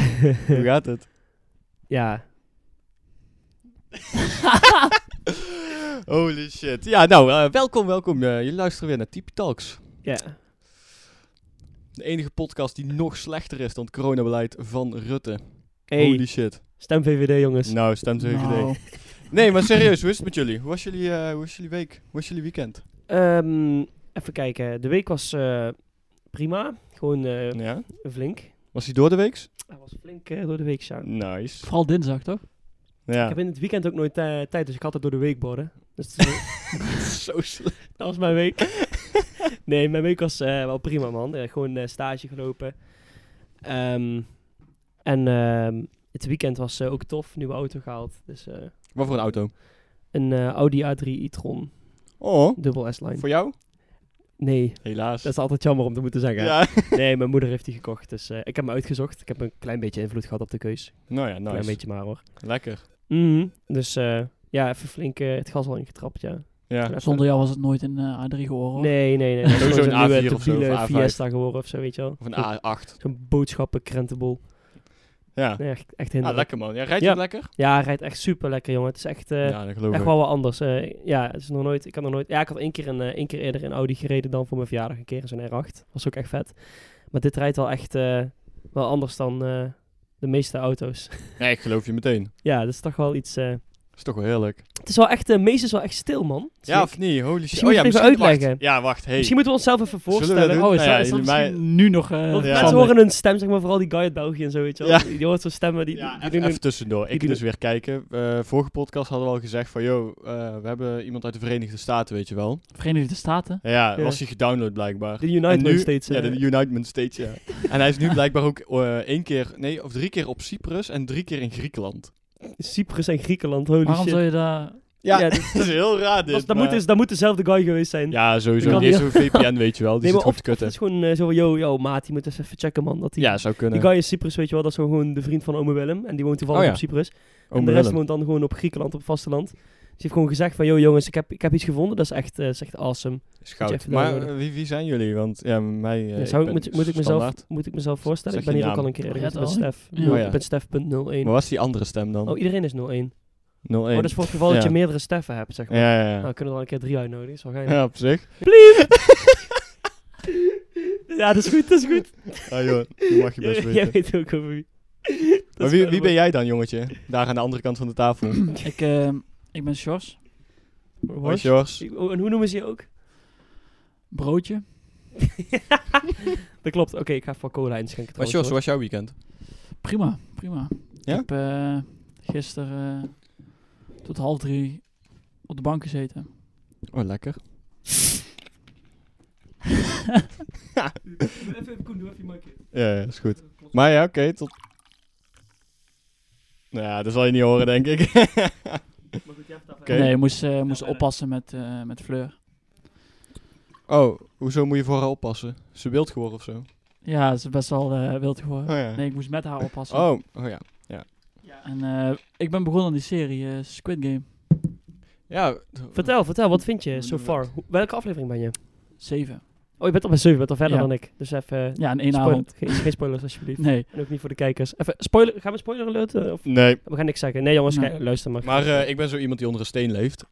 Hoe gaat het? ja. Holy shit. Ja, nou, eh, welkom, welkom. Eh, jullie luisteren weer naar Type Talks. Ja. De enige podcast die nog slechter is dan het coronabeleid van Rutte. Hey, Dus- Holy shit. stem VVD jongens. Nou, stemt VVD. Nou, Nee, maar serieus, hoe is het met jullie? Hoe was jullie, eh, hoe was jullie week? Hoe was jullie weekend? Ehm, even kijken. De week was eh, prima. Gewoon eh, Ja. flink. Was hij door de weeks? Hij was flink eh, door de week, Sjaan. Nice. Vooral dinsdag, toch? Ik Ja. heb in het weekend ook nooit eh, tijd, dus ik had het door de week borden. Dus dat is- Zo slecht. dat was mijn week. nee, mijn week was eh, wel prima, man. Eh, gewoon eh, stage gelopen. Ehm, en ehm, het weekend was eh, ook tof. Nieuwe auto gehaald. Dus eh, Wat voor een auto? een eh, Audi A3 e-tron. Oh, Dubbel S-line. voor jou? Nee, Helaas. dat is altijd jammer om te moeten zeggen. Ja. Nee, mijn moeder heeft die gekocht. Dus eh, ik heb hem uitgezocht. Ik heb een klein beetje invloed gehad op de keus. Nou ja, Klein nice. beetje maar hoor. Lekker. Mhm. Dus eh, ja, even flink eh, het gas al ingetrapt, ja. Ja. Zonder Zonder jou was het nooit een eh, A3 geworden. hoor. Nee, nee, nee. Dat is Oh. Sowieso gewoon een zo'n nieuwe A4 of zo, debiele of A5. Fiesta geworden of zo, weet je wel. Of een Zo'n- A8. Zo'n boodschappen krentenbol. Ja. Nee, echt, echt Ah, hinderlijk. lekker man. Ja, rijdt je Ja. het lekker? Ja, hij rijdt echt super lekker, jongen. Het is echt, eh, ja, dat geloof echt ik. wel wat anders. Eh, ja, het is nog nooit, ik had nog nooit... Ja, ik had één keer, een, eh, één keer eerder een Audi gereden dan voor mijn verjaardag. Een keer in zo'n R8. Was ook echt vet. Maar dit rijdt wel echt eh, wel anders dan eh, de meeste auto's. Nee, ik geloof je meteen. ja, dat is toch wel iets... eh, Is toch wel heerlijk. het is wel echt... eh mees is wel echt stil, man. Dat is Ja leuk. of niet? Holy shit. Oh Misschien ja, moet je even misschien- wacht. uitleggen. Ja, wacht. Hey. Misschien moeten we onszelf even we dat voorstellen. doen? Oh, is Nou dat, ja, is dat jullie mij- misschien nu nog... eh, Want Ja. mensen Sander? horen hun stem, zeg maar, vooral die guy uit België en zo, weet je wel. Ja. Die, die hoort zo'n stemmen, die, ja, die even, doen even tussendoor. die Ik doen dus weer kijken. Eh, vorige podcast hadden we al gezegd van... Yo, eh, we hebben iemand uit de Verenigde Staten, weet je wel. Verenigde Staten. Ja, Ja. was hij gedownload blijkbaar. de United En nu- States. Ja, eh, de United States, ja. en hij is nu blijkbaar ook eh, één keer... Nee, of drie keer op Cyprus en drie keer in Griekenland. Cyprus en Griekenland, holy Waarom shit. zou je daar... Ja, Ja, dus- dat is heel raar dit. dat, dat, maar- moet dus, dat moet dezelfde guy geweest zijn. Ja, sowieso. kan Die heeft niet. zo'n VPN, weet je wel. Die Nee, zit maar goed of, te of het kutten. is gewoon eh, zo van, yo, yo, maat, die moet eens even checken, man. Dat die, Ja, zou die kunnen. guy in Cyprus, weet je wel, dat is gewoon de vriend van ome Willem. En die woont toevallig Oh, ja. op Cyprus. en de Oom rest Willem. woont dan gewoon op Griekenland, op het vasteland. Dus die heeft gewoon gezegd van, yo, jongens, ik heb, ik heb iets gevonden. Dat is echt, eh, is echt awesome. Is Moet je goud. even Maar downloaden. eh, wie, wie zijn jullie? Want ja, mij... eh, Ja, zou ik, ben moet, moet ik mezelf, standaard. moet ik mezelf voorstellen? Zeg ik ben je hier ook naam. al een keer eerder Ja, geweest met dat Stef. Ja. Oh, ja. Ik ben Stef.01. Maar was die andere stem dan? Oh, iedereen is 01. 01. Oh, dat is voor het geval dat Ja. je meerdere Steffen hebt, zeg maar. Ja, ja, Nou, ja. we kunnen we dan een keer drie uitnodigen, is wel geinig. Ja, op zich. Ja, dat is goed, dat is goed. Ah joh, dat mag je best Jij, weten. jij weet ook over wie. Dat maar is wie, wel wie ben mooi. jij dan, jongetje? Daar aan de andere kant van de tafel. Ik, eh, ik ben Sjors. Hoi, Sjors. Ik- oh, En hoe noemen ze je ook? Broodje. Dat klopt. Oké, ik ga voor cola inschenken Maar trouwens. Sjors, hoe hoor. was jouw weekend? Prima, prima. Ja? Ik heb eh, gisteren eh, tot half drie op de bank gezeten. Oh, lekker. Even, Koen, doe even je micje. Ja, ja, is goed. Maar ja, oké, tot... Nou ja, dat zal je niet horen, denk ik. Maar goed, jij hebt het af, Oké. hè? Nee, ik moest, eh, moest Ja, bijna. oppassen met, eh, met Fleur. oh, hoezo moet je voor haar oppassen? Ze wild geworden of zo? Ja, ze is best wel eh, wild geworden. Oh ja. Nee, ik moest met haar oppassen. Oh, oh ja. En eh, ik ben begonnen aan die serie eh, Squid Game Ja, Vertel, vertel, wat vind je Hoe so doen we far? dat? Hoe- welke aflevering ben je? 7. Oh, je bent al bij 7, je bent al verder Ja. dan ik. Dus even... eh, Ja, in één spoiler- avond. Geen, geen spoilers, alsjeblieft. Nee. En ook niet voor de kijkers. Even, spoiler, gaan we spoiler alert? eh, of? nee. We gaan niks zeggen. Nee jongens, Nee. kijk, luister maar. Maar eh, ik ben zo iemand die onder een steen leeft.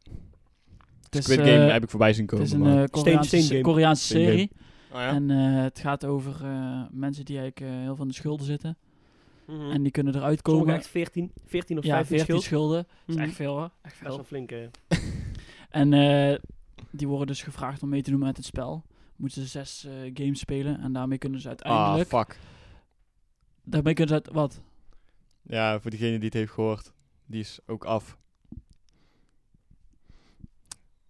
Het is, Squid eh, Game heb ik voorbij zien Het komen. is een maar- eh, Koreaanse, Steen Game. Koreaanse Steen serie. Oh ja? En eh, het gaat over eh, mensen die eigenlijk eh, heel veel in de schulden zitten. Hm. Mhm. En die kunnen eruit Sommigen komen. echt 14, 14 of Ja, 15 14 schuld. schulden. Dat Mhm. Hm. is echt veel hoor. Dat Echt is wel veel. flink. eh. En eh, die worden dus gevraagd om mee te doen met het spel. Moeten ze zes eh, games spelen. En daarmee kunnen ze Ah, uiteindelijk... fuck. daarmee kunnen ze uit, Wat? Ja, voor degene die het heeft gehoord, die is ook af.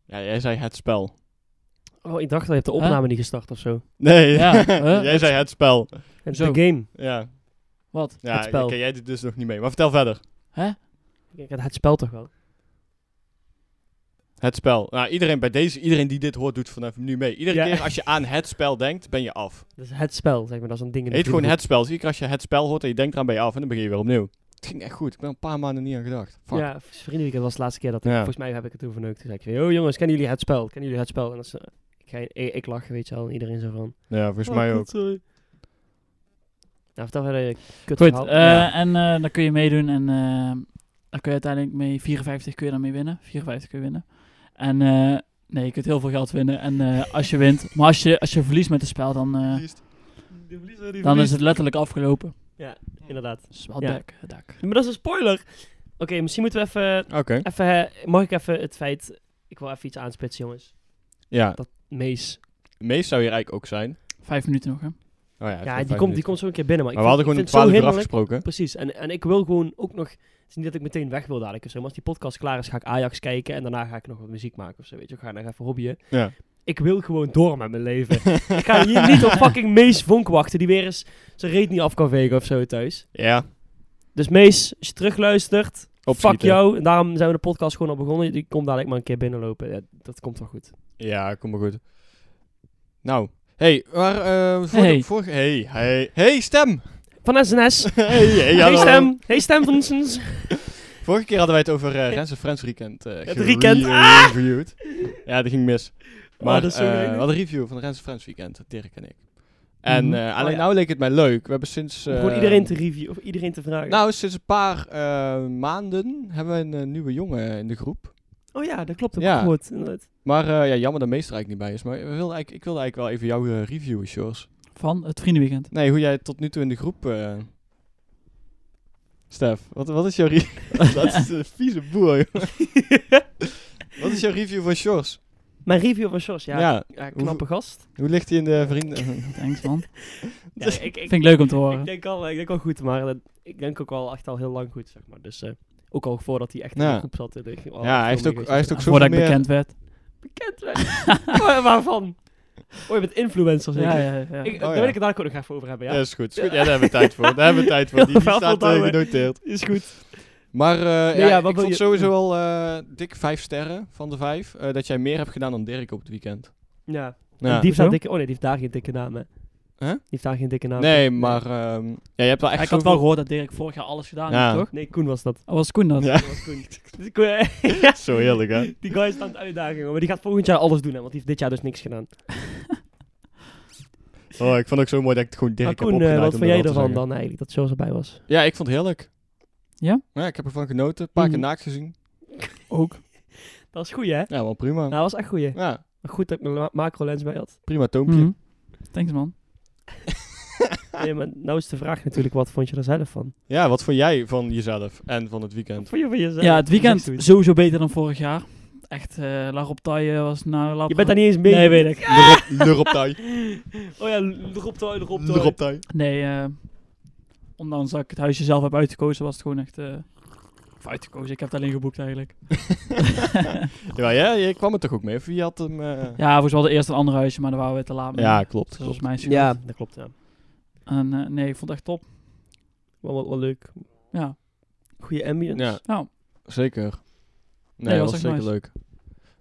Ja, jij zei het spel. Oh, ik dacht dat je hebt de opname niet gestart of zo. Nee, Ja, hè? jij zei het spel. En Zo. de game. Ja, Wat? ja Het spel. oké, jij dit dus nog niet mee. Maar vertel verder. Hè? Ik had het spel toch wel. Het spel. Nou, iedereen bij deze, iedereen die dit hoort, doet vanaf nu mee. Iedere Ja. keer als je aan het spel denkt, ben je af. Dat is het spel, zeg maar. Dat is een ding in Het de heet videogroep. gewoon het spel. Dus iedere keer als je het spel hoort en je denkt eraan, ben je af. En dan begin je weer opnieuw. Het ging echt goed. Ik ben er een paar maanden niet aan gedacht. Fuck. Ja, vriendenweekend was de laatste keer dat ik... Ja. Volgens mij heb ik het toen verneukt. Toen zei ik van, yo jongens, kennen jullie het spel? Kennen jullie het spel? En dat is, eh, Oh, ik, ga- ik, ik lach, weet je wel. En iedereen zo van... Ja, volgens oh, kut, sorry. Nou, vertel verder je kut Goed, verhaal. eh, Ja. en eh, dan kun je meedoen en eh dan kun je uiteindelijk mee 54 kun je daarmee winnen. 54 kun je winnen. En eh, nee, je kunt heel veel geld winnen en eh, als je wint. Maar als je, als je verliest met het spel, dan, eh, dan is het letterlijk afgelopen. Inderdaad. Dus wat Ja. dak, dak. Maar dat is een spoiler. Oké, misschien moeten we even... Oké, even eh, mag ik even het feit... Ik wil even iets aanspitsen, jongens. ja. Dat Mees. Mees zou hier eigenlijk ook zijn. Vijf minuten nog, hè? Oh, ja, Ja, die komt, die komt zo een keer binnen. Maar, Maar we hadden gewoon om een 12 uur afgesproken. Precies. En, en ik wil gewoon ook nog... Het is niet dat ik meteen weg wil dadelijk of zo. Maar als die podcast klaar is, ga ik Ajax kijken. En daarna ga ik nog wat muziek maken of zo. Weet je, ik ga nog even hobbyen. Ja. Ik wil gewoon door met mijn leven. ik ga hier niet op fucking Mees Vonk wachten. Die weer eens zijn reet niet af kan vegen of zo thuis. Ja, Dus Mees, als je terugluistert... opschieten. Fuck jou. En daarom zijn we de podcast gewoon al begonnen. Die komt dadelijk maar een keer binnenlopen. Ja, dat komt wel goed. Ja, kom maar goed. Nou, hey, maar eh voor Hey. de vorige... Hey, hey, hey, stem! Van SNS. hey, hey, hey hallo. stem. Hey stem van ons. Vorige keer hadden wij het over eh Rens en Friends Weekend. eh Het weekend, Ah! Reviewed. Ja, dus, dat ging mis. Maar Oh, dat is zo eh, leuk. we hadden een review van Rens en Friends Weekend, Dirk en ik. En Mhm. eh, alleen Oh, ja. nou leek het mij leuk. We hebben sinds... eh, gewoon iedereen te reviewen of iedereen te vragen. Nou, sinds een paar eh, maanden hebben we een eh, nieuwe jongen in de groep. oh ja, dat klopt. Dat Ja. heb ik gehoord, inderdaad. Maar eh, ja, jammer dat meester eigenlijk niet bij is. Maar we wilden eigenlijk, ik wilde eigenlijk wel even jou eh, reviewen, Sjors. Van het vriendenweekend. Nee, hoe jij tot nu toe in de groep... eh, Stef, wat, wat is jouw review? dat is een vieze boer, joh. Wat is jouw review van Sjors? Mijn review van Sjors, ja. ja. knappe gast. Hoe ligt hij in de vrienden? Thanks, man. Ja, ik, ik, Vind ik leuk om te ik horen. denk al, ik denk al goed, maar dat, ik denk ook al echt al heel lang goed, zeg maar. Dus eh, ook al voordat hij echt in Ja. de groep zat. eh, ging- oh, Ja, hij heeft veel ook- meer hij heeft gezien. ook zo- Voordat ik zoveel meer- bekend werd. Bekend werd. Waar- Waarvan? Oh, je bent influencer, zeker? Ja, ja, ja. Ik, Oh, daar ja. wil ik het daar ook nog even over hebben, ja. Ja, is goed. is goed. Ja, daar hebben we tijd voor. Daar hebben we tijd voor. Die, die Wel staat eh, voldoen. genoteerd. Is goed. Maar eh, Nee, ja, ja, wat ik wil vond je- sowieso al eh, dik vijf sterren van de vijf. eh, dat jij meer hebt gedaan dan Dirk op het weekend. Ja. Ja. Die heeft daar Hoezo? dikke... Oh nee, die heeft daar geen dikke naam, hè. Huh? Die heeft daar geen dikke naam. Nee, maar ehm, ja, je hebt wel echt ik had wel zoveel- gehoord dat Dirk vorig jaar alles gedaan Ja. heeft, toch? Nee, Koen was dat. Oh, was Koen dat? Ja. Dat was Koen. Dus Koen, eh, ja. Zo heerlijk, hè? Die guy staat aan de uitdaging, hoor. maar die gaat volgend jaar alles doen, hè, want die heeft dit jaar dus niks gedaan. Oh, ik vond het ook zo mooi dat ik het gewoon maar Dirk heb Koen, eh, opgedraaid wat om vond jij dat te ervan zeggen. dan eigenlijk, dat Sjors erbij was? Ja, ik vond het heerlijk. Ja? Ja, ik heb ervan genoten. Een paar keer Mhm. naakt gezien. Ook. Dat is goed, hè? Ja, wel prima. Nou, dat was echt goeie. Ja, Goed dat ik mijn ma- macro-lens bij had. prima toompje. Mhm. Thanks, man. Nee, maar nou is de vraag natuurlijk, wat vond je er zelf van? Ja, wat vond jij van jezelf en van Wat het weekend? vond je van jezelf? Ja, het weekend Je sowieso beter dan vorig jaar. Echt, eh La Robtaille was nou... La bent daar niet eens mee. Nee, weet ik. Luroptai. Oh ja, erop toe, erop toe. Luroptai. Nee, eh, ondanks dat ik het huisje zelf heb uitgekozen, was het gewoon echt... eh of uitgekozen, ik heb het alleen geboekt eigenlijk. Ja, ja, je kwam er toch ook mee? Of je had hem... eh, Ja, volgens mij hadden eerst een ander huisje, maar daar waren we te laat mee. Ja, Dus klopt. dat was mijn schuld. Ja, dat klopt, ja. En, eh, nee, ik vond het echt top. Wel, wel, wel leuk. Ja, Goeie ambience. Ja, nou, zeker. Nee, Nee, dat was was echt zeker nice. leuk.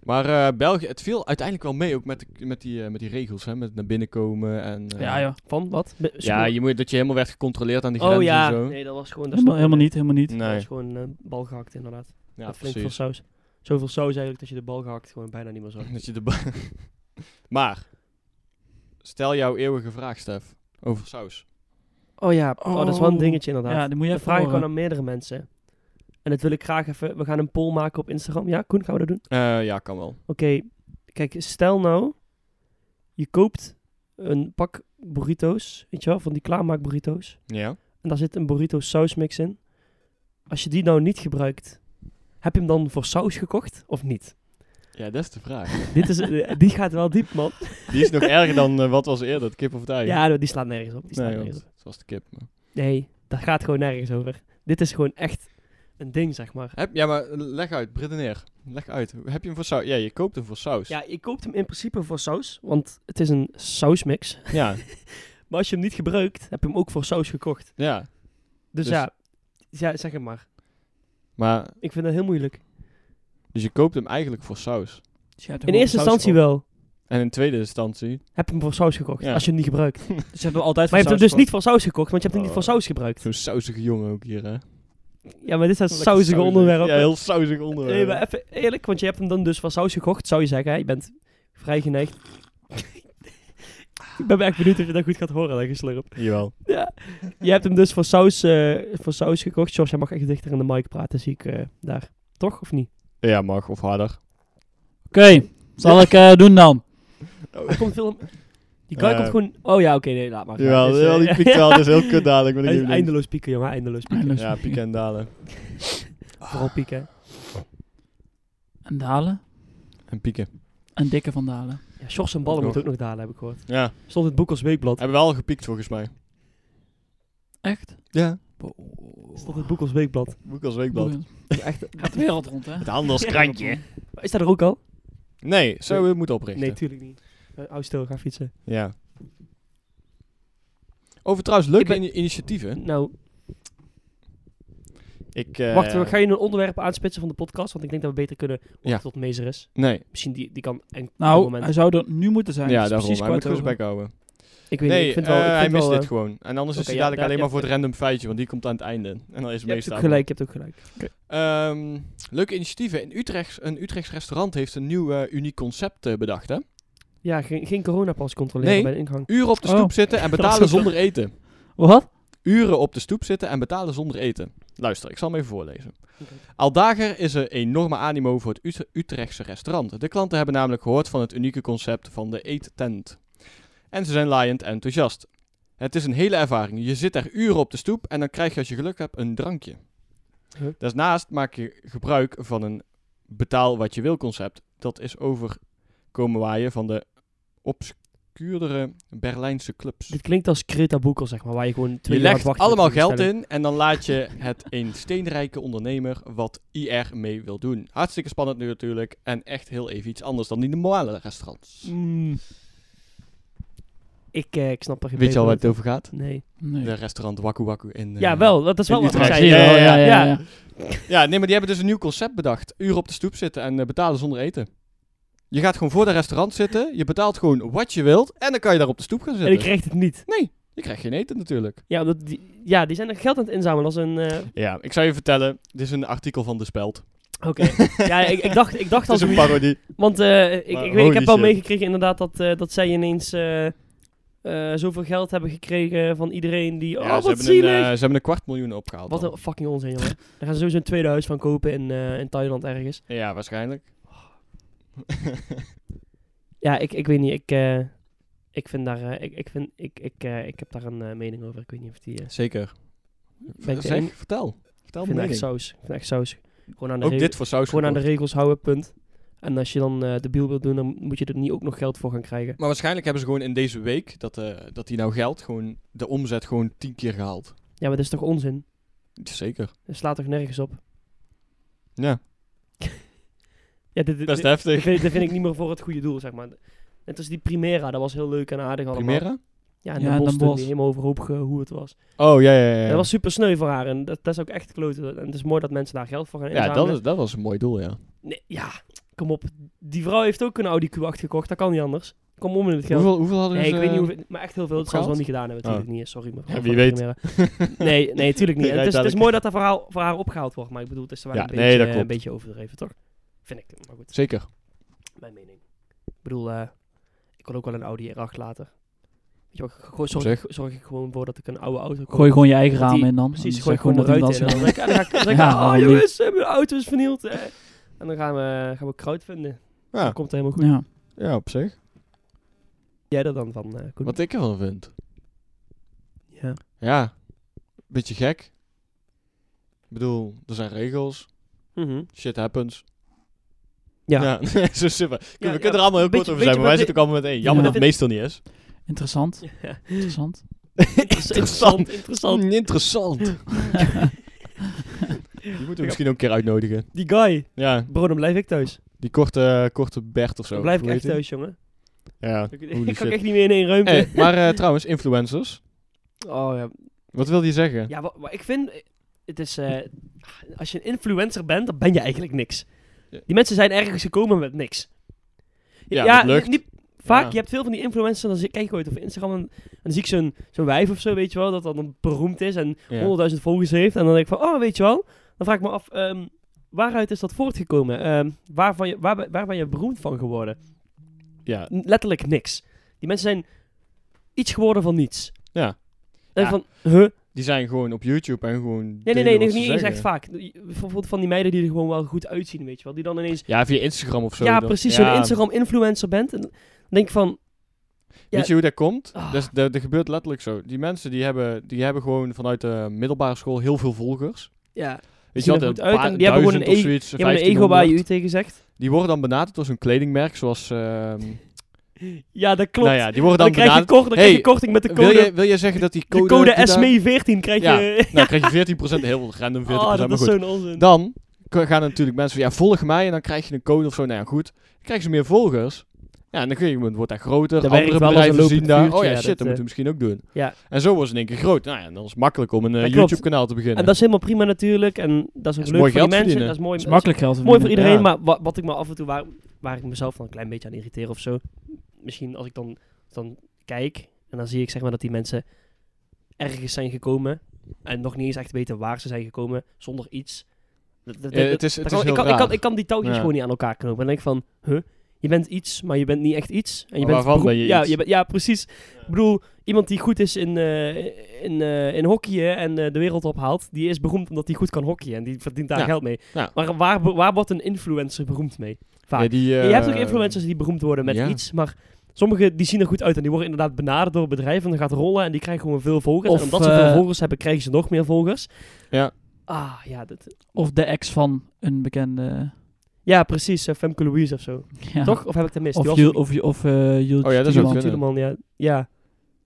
Maar eh, België, het viel uiteindelijk wel mee ook met, de- met, die, eh, met die regels, hè? Met naar binnen komen en... eh, ja, ja. Van, wat? Be- Ja, je moet, dat je helemaal werd gecontroleerd aan die grens Oh ja, en zo. nee, dat was gewoon... dat Helemaal, snap ik. helemaal niet, helemaal niet. Dat Nee. was gewoon eh, bal gehakt, inderdaad. Ja, Met flink precies. veel saus. Zoveel saus eigenlijk dat je de bal gehakt gewoon bijna niet meer zag. Dat je de ba- maar, stel jouw eeuwige vraag, Stef, over saus. Oh ja, oh, dat is wel een Oh. dingetje inderdaad. Ja, die eh, moet je dat even vraag ik horen. gewoon aan meerdere mensen. En dat wil ik graag even... We gaan een poll maken op Instagram. Ja, Koen, gaan we dat doen? Eh, ja, kan wel. Oké, kijk, stel nou... Je koopt een pak burrito's, weet je wel, van die klaarmaak burrito's. Ja? En daar zit een burrito sausmix in. Als je die nou niet gebruikt, heb je hem dan voor saus gekocht of niet? Ja, dat is de vraag. Dit is, eh, die gaat wel diep, man. Die is nog erger dan eh, wat was eerder, het kip of het ei. Ja, die slaat nergens op. Die slaat nee, nergens op. want het was de kip. maar- Nee, daar gaat gewoon nergens over. Dit is gewoon echt een ding, zeg maar. Heb, ja, maar leg uit, bredeneer. Leg uit. Heb je hem voor saus? Ja, je koopt hem voor saus. Ja, je koopt hem in principe voor saus, want het is een sausmix. Ja, Maar als je hem niet gebruikt, heb je hem ook voor saus gekocht. ja. Dus, Dus- ja, ja, zeg het maar. Maar, Ik vind dat heel moeilijk. dus je koopt hem eigenlijk voor saus. Dus je hebt In hem eerste ook saus instantie voor. wel En in tweede instantie... heb je hem voor saus gekocht, Ja. als je hem niet gebruikt. Maar Dus je hebt hem altijd je hebt hem voor dus niet voor saus gekocht, want je hebt hem niet voor Oh. saus gebruikt. Zo'n sausige jongen ook hier, hè? Ja, maar dit zijn Lekker sausige sausig. onderwerpen. Ja, heel sausig onderwerp. Nee, maar even eerlijk, want je hebt hem dan dus voor saus gekocht, zou je zeggen. hè? Je bent vrij geneigd. ik ben echt benieuwd of je dat goed gaat horen, dat geslurp. Jawel. Ja. Je hebt hem dus voor saus, eh, voor saus gekocht. George, jij mag echt dichter in de mic praten, zie ik eh, daar. Toch, of niet? Ja, mag. Of harder. zal ik eh, doen dan? Er komt veel... Die guy Eh. komt gewoon... Oh ja, oké, nee, laat maar. Jawel, Het is, jawel, eh, die piekt wel. Dat is heel kut dadelijk. Hij maar dat is geeft niks. eindeloos pieken, jongen. Eindeloos pieken. Eindeloos. Ja, pieken en dalen. Ah. Vooral pieken. En Dalen? En pieken. En Dikke van Dalen. Ja, Sjors en ballen moet ook nog dalen, heb ik gehoord. Ja. Stond in het boek als weekblad. Hebben we al gepiekt volgens mij. Echt? Ja. Oh. Stond in het boek als weekblad. Boek als weekblad. Echt, Gaat de wereld rond, hè? Het handelskrantje. is dat er ook al? Nee, zo we moeten oprichten. Nee, tuurlijk niet. Uh, Hou stil, ga fietsen. Ja. Over trouwens leuke Ik ben- ini- initiatieven. Nou, Ik, eh, wacht, we- ga je een onderwerp aanspitsen van de podcast? Want ik denk dat we beter kunnen wachten Ja. tot Mezer is. Nee, Misschien die, die kan en een Nou, moment. hij zou er nu moeten zijn. ja, Het is daarom. precies Hij moet kwart gewoon zijn over. bek houden. ik weet niet, Nee, ik vind wel... eh, ik hij vind mist wel, dit gewoon. En anders Oké, is hij ja, dadelijk daar- alleen maar ja, voor het ja. random feitje, want die komt aan het einde. En dan is eh, Je hebt meestal. ook gelijk, je hebt ook gelijk. Ehm, leuke initiatieven. In Utrecht, een Utrechts restaurant heeft een nieuw eh, uniek concept eh, bedacht. Hè? Ja, geen, geen coronapas controleren Nee. bij de ingang. Uren op de Oh. stoep zitten en betalen was ook zonder eten. Wat? Uren op de stoep zitten en betalen zonder eten. Luister, ik zal hem even voorlezen. Oké. Al dagen is er enorme animo voor het Ut- Utrechtse restaurant. De klanten hebben namelijk gehoord van het unieke concept van de eettent. En ze zijn laaiend enthousiast. Het is een hele ervaring. Je zit er uren op de stoep en dan krijg je als je geluk hebt een drankje. Huh? Daarnaast maak je gebruik van een betaal wat je wil concept. Dat is overkomen waaien van de obscuurdere Berlijnse clubs. Dit klinkt als Creta Boekel, zeg maar, waar je gewoon twee Je jaar legt wacht met allemaal een geld bestelling. in en dan laat je het een steenrijke ondernemer wat IR mee wil doen. Hartstikke spannend nu natuurlijk en echt heel even iets anders dan die normale restaurants. Mm, Ik, eh, ik snap er geen Weet je al waar beter het over gaat? van. Nee. nee. De restaurant Waku Waku in... eh, Ja, wel, dat is wel in wat ik Utrecht. zei. eh, Ja, ja, ja, ja. Ja, nee, maar die hebben dus een nieuw concept bedacht. Uren op de stoep zitten en eh, betalen zonder eten. Je gaat gewoon voor dat restaurant zitten, je betaalt gewoon wat je wilt en dan kan je daar op de stoep gaan En zitten. ik kreeg het niet. je krijgt geen eten natuurlijk. Ja, omdat die, ja, die zijn er geld aan het inzamelen als een... eh, Ja, ik zou je vertellen, dit is een artikel van De Speld. Oké. ja, ik, ik dacht, ik dacht Het al is een zoiets. parodie. Want eh, ik, Maar ik, weet, ik holy heb wel shit. meegekregen inderdaad dat, eh, dat zij ineens eh, eh, zoveel geld hebben gekregen van iedereen die... Ja, oh, ze, wat hebben een, zielig! eh, ze hebben een kwart miljoen opgehaald. wat dan. een fucking onzin, jongen. Daar gaan ze sowieso een tweede huis van kopen in, eh, in Thailand ergens. Ja, waarschijnlijk. Ja, ik, ik weet niet. Ik, eh, ik vind daar... eh, ik, ik, vind, ik, ik, eh, ik heb daar een eh, mening over. Ik weet niet of die... eh, Zeker. Ben ik de zeg, enige? vertel. Vertel ik me vind het echt mening. saus. Ik vind het echt saus. Gewoon aan de Ook regel- dit voor saus Gewoon aan de gekocht. regels houden, punt. En als je dan eh, de biel wilt doen, dan moet je er niet ook nog geld voor gaan krijgen. Maar waarschijnlijk hebben ze gewoon in deze week, dat, eh, dat die nou geldt, gewoon de omzet gewoon tien keer gehaald. Ja, maar dat is toch onzin? Zeker. Dat slaat toch nergens op? Ja, Ja, dit, dit, best dit- dit heftig. vind, dit vind ik niet meer voor het goede doel, zeg maar. Net als die Primera, dat was heel leuk en aardig allemaal. Primera? Ja, en Ja, de en bos Den toen Bosch. die helemaal overhoop gehoerd was. Oh, ja, ja, ja. Dat was super sneu voor haar en dat, dat is ook echt kloten. En het is mooi dat mensen daar geld voor gaan ja, inzamelen. dat, is, dat was een mooi doel, ja. Nee, ja, kom op. Die vrouw heeft ook een Audi Q8 gekocht, dat kan niet anders. Kom om in het geld. Hoeveel, hoeveel hadden Nee, ze... ik weet niet hoeveel, maar echt heel veel. Dat zal ze wel opgehaald? Oh. niet gedaan hebben, natuurlijk niet. Sorry, mevrouw. Ja, van wie de weet. Primera. Nee, nee, tuurlijk niet. Die Het is, het is rijdt mooi dat dat voor haar, voor haar opgehaald wordt, maar ik bedoel, het is wel Ja, een, nee, dat beetje, een klopt. beetje overdreven, toch? Vind ik, maar goed, Zeker. mijn mening. Ik bedoel, eh, ik kon ook wel een Audi R8 later. Weet je wel, gewoon zorg, Op zich. ik- zorg ik gewoon voor dat ik een oude auto koop. Gooi gewoon je eigen Dat raam die- in dan. Precies, En gooi zeg ik gewoon de dat ruiten in. En dat dan denk ik, dan ga- dan zeg ik, Ja, oh waarom niet?" jongens, eh, mijn auto is vernield. eh. En dan gaan we, gaan we kruid vinden. Dan Ja, komt het helemaal goed. Ja. ja, op zich. Jij er dan van, eh Koen? Wat ik ervan vind. Ja. Ja, beetje gek. Ik bedoel, er zijn regels. Mhm. Shit happens. Ja. zo simpel. Kun- Ja, we ja, kunnen er allemaal heel beetje- kort over beetje zijn, maar wij wat zitten ook allemaal met één. Jammer Ja. dat het meestal niet is. Interessant. Ja. Interessant. Interessant, interessant. Mm, interessant. Die moeten we misschien ook een keer uitnodigen. Die guy, Ja, bro, dan blijf ik thuis. die korte, korte Bert of zo. Dan blijf ik hoe echt heet die? thuis, jongen. Ja. Ik, Holy ik kan shit. echt niet meer in één ruimte. Hey, maar eh, trouwens, influencers. Oh ja. Wat wil je zeggen? Ja, wa- maar ik vind... eh, Het is... eh, als je een influencer bent, dan ben je eigenlijk niks. Ja. Die mensen zijn ergens gekomen met niks. Ja, met lucht. niet- vaak, Ja. je hebt veel van die influencers, dan zie- kijk ik ooit op Instagram en, en dan zie ik zo'n zo'n wijf of zo, weet je wel, dat dan beroemd is en Ja. 100.000 volgers heeft. En dan denk ik van, oh, weet je wel. Dan vraag ik me af, ehm, waaruit is dat voortgekomen? Ehm, waarvan je, waar, ben- waar ben je beroemd van geworden? Ja, N- letterlijk niks. Die mensen zijn iets geworden van niets. Ja. En Ja. van, huh? Die zijn gewoon op YouTube en gewoon. Nee, nee, delen nee, wat nee ze niet eens zeggen. echt vaak. Bijvoorbeeld van die meiden die er gewoon wel goed uitzien, weet je wel. Die dan ineens, Ja, via Instagram of zo. ja dan- precies, ja. zo'n Instagram-influencer bent. En dan denk ik van, ja. Weet je hoe dat komt? Ah. Dat, is- dat, dat gebeurt letterlijk zo. Die mensen die hebben, die hebben gewoon vanuit de middelbare school heel veel volgers. ja, Weet Zien je er wel, goed een uit paar en die hebben gewoon een duizend of e- zoiets, je hebt een ego 1500. waar je u tegen zegt. Die worden dan benaderd door zo'n kledingmerk zoals... ehm, Ja, dat klopt. nou ja, die worden dan dan, krijg je, benaderd... kort, dan krijg je Hey, korting met de wil, code, je, wil je zeggen dat die code... de code die daar- SME14 krijg Ja, je... Nou, krijg je 14%, heel random 14%, oh, dat maar is goed. zo'n onzin. Dan k- gaan er natuurlijk mensen van, ja, volg mij en dan krijg je een code of zo. Nou ja, goed. Dan krijgen ze meer volgers. Ja, en dan kun je- wordt dat groter. Dat andere werkt wel als een bedrijven zien lopend daar, vuurtje, oh ja, ja, shit, dat, dat, moeten we eh. misschien ook doen. Ja. En zo was het in één keer groot. Nou ja, en dan is het makkelijk om een eh, Dat klopt. YouTube-kanaal te beginnen. En dat is helemaal prima natuurlijk. En dat is ook is leuk mooi voor geld die mensen. verdienen. Dat is mooi, is makkelijk geld te mooi voor verdienen. iedereen. Ja. Maar wa- wat ik me af en toe waar, waar ik mezelf dan een klein beetje aan irriteer of zo. Misschien als ik dan, dan kijk en dan zie ik zeg maar dat die mensen ergens zijn gekomen. En nog niet eens echt weten waar ze zijn gekomen. Zonder iets. Dat- dat- Ja, dat- het is- dat het kan- is heel ik, kan, ik, kan, raar. ik kan die touwtjes Ja. gewoon niet aan elkaar knopen. En dan denk ik van, huh? Je bent iets, maar je bent niet echt iets. En je Maar bent waarvan beroep- ben je ja, iets? bent- ja, precies. Ik bedoel, iemand die goed is in, eh, in, eh, in hockeyen en eh, de wereld ophaalt, die is beroemd omdat hij goed kan hockeyen. En die verdient daar Ja. geld mee. Ja. Maar waar, be- waar wordt een influencer beroemd mee? Vaak. Ja, die, eh, je hebt ook influencers die beroemd worden met ja. iets, maar sommigen die zien er goed uit en die worden inderdaad benaderd door bedrijven en dan gaat rollen en die krijgen gewoon veel volgers. Of, en omdat ze veel eh, volgers hebben, krijgen ze nog meer volgers. Ja. Ah, ja, dat, Of de ex van een bekende. ja precies. eh, Femke Louise of zo. Ja. Toch? Of heb ik dat mis? Of, Die was- Ju- of, Ju- of eh, Jules Oh ja, dat is ook Tieleman. kunnen. Tieleman, ja. ja.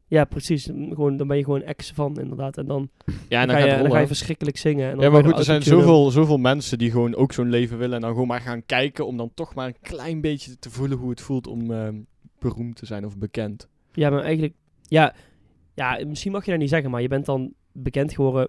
Ja, precies. Mm, Gewoon, dan ben je gewoon ex van, inderdaad. En dan, Ja, en dan, dan, ga, je, gaat het dan ga je rollen. verschrikkelijk zingen. En dan Ja, ga je maar goed, er zijn auto-tunen. zoveel, zoveel mensen die gewoon ook zo'n leven willen. En dan gewoon maar gaan kijken om dan toch maar een klein beetje te voelen hoe het voelt om ehm, beroemd te zijn of bekend. Ja, maar eigenlijk... Ja, ja, misschien mag je dat niet zeggen, maar je bent dan bekend geworden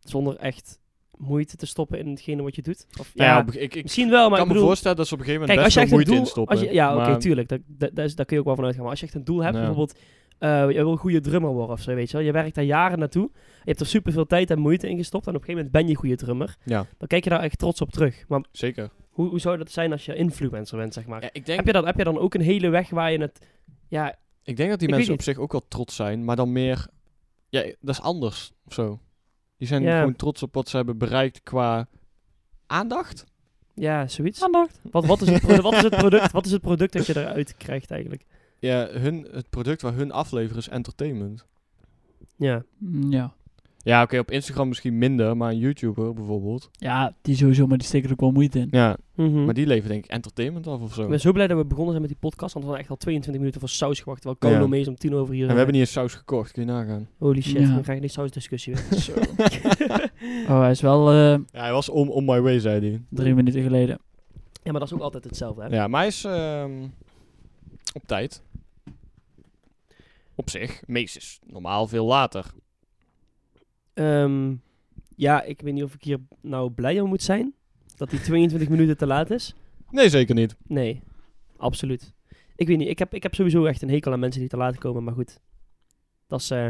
zonder echt moeite te stoppen in hetgene wat je doet. Of, ja, Nou ja, op- ik, ik misschien wel, maar kan ik me bedoel... voorstellen dat ze op een gegeven Kijk, moment als je best echt wel een moeite doel... in stoppen. als je- ja, oké, maar- tuurlijk. Dat, dat, dat is- daar kun je ook wel van uitgaan. Maar als je echt een doel hebt, Ja. bijvoorbeeld... eh, je wil goede drummer worden of zo, weet je wel. Je werkt daar jaren naartoe. Je hebt er superveel tijd en moeite in gestopt. En op een gegeven moment ben je goede drummer. Ja, Dan kijk je daar echt trots op terug. Maar zeker. Hoe, hoe zou dat zijn als je influencer bent, zeg maar? Ja, ik, denk, Heb, je dan, heb je dan ook een hele weg waar je het... Ja, ik denk dat die ik mensen weet op zich ook wel trots zijn, maar dan meer... Ja, dat is anders of zo. Die zijn Ja. gewoon trots op wat ze hebben bereikt qua aandacht. ja zoiets. Aandacht. Wat, wat, is het produ- wat, is het product, wat is het product dat je eruit krijgt eigenlijk? Ja, hun, het product waar hun afleveren is entertainment. Ja, Mm, Ja. Ja, oké, op Instagram misschien minder, maar een YouTuber bijvoorbeeld. ja, die sowieso, maar die steken er ook wel moeite in. Ja, Mhm. maar die leveren denk ik entertainment af of zo. Ik ben zo blij dat we begonnen zijn met die podcast, want we hadden echt al 22 minuten voor saus gewacht, terwijl Carlo Ja. mee is om tien over hier. En we hebben niet eens saus gekocht, kun je nagaan. Holy shit, Ja. dan krijg je die sausdiscussie weer. Oh, hij is wel eh, Ja, hij was on, on my way, zei hij. drie minuten geleden. ja, maar dat is ook altijd hetzelfde, hè? Ja, maar hij is ehm, op tijd. Op zich, meest is normaal veel later. Ehm, ja, ik weet niet of ik hier nou blij om moet zijn, dat die 22 minuten te laat is. Nee, zeker niet. Nee, absoluut. Ik weet niet, ik heb, ik heb sowieso echt een hekel aan mensen die te laat komen, maar goed. Dat is eh,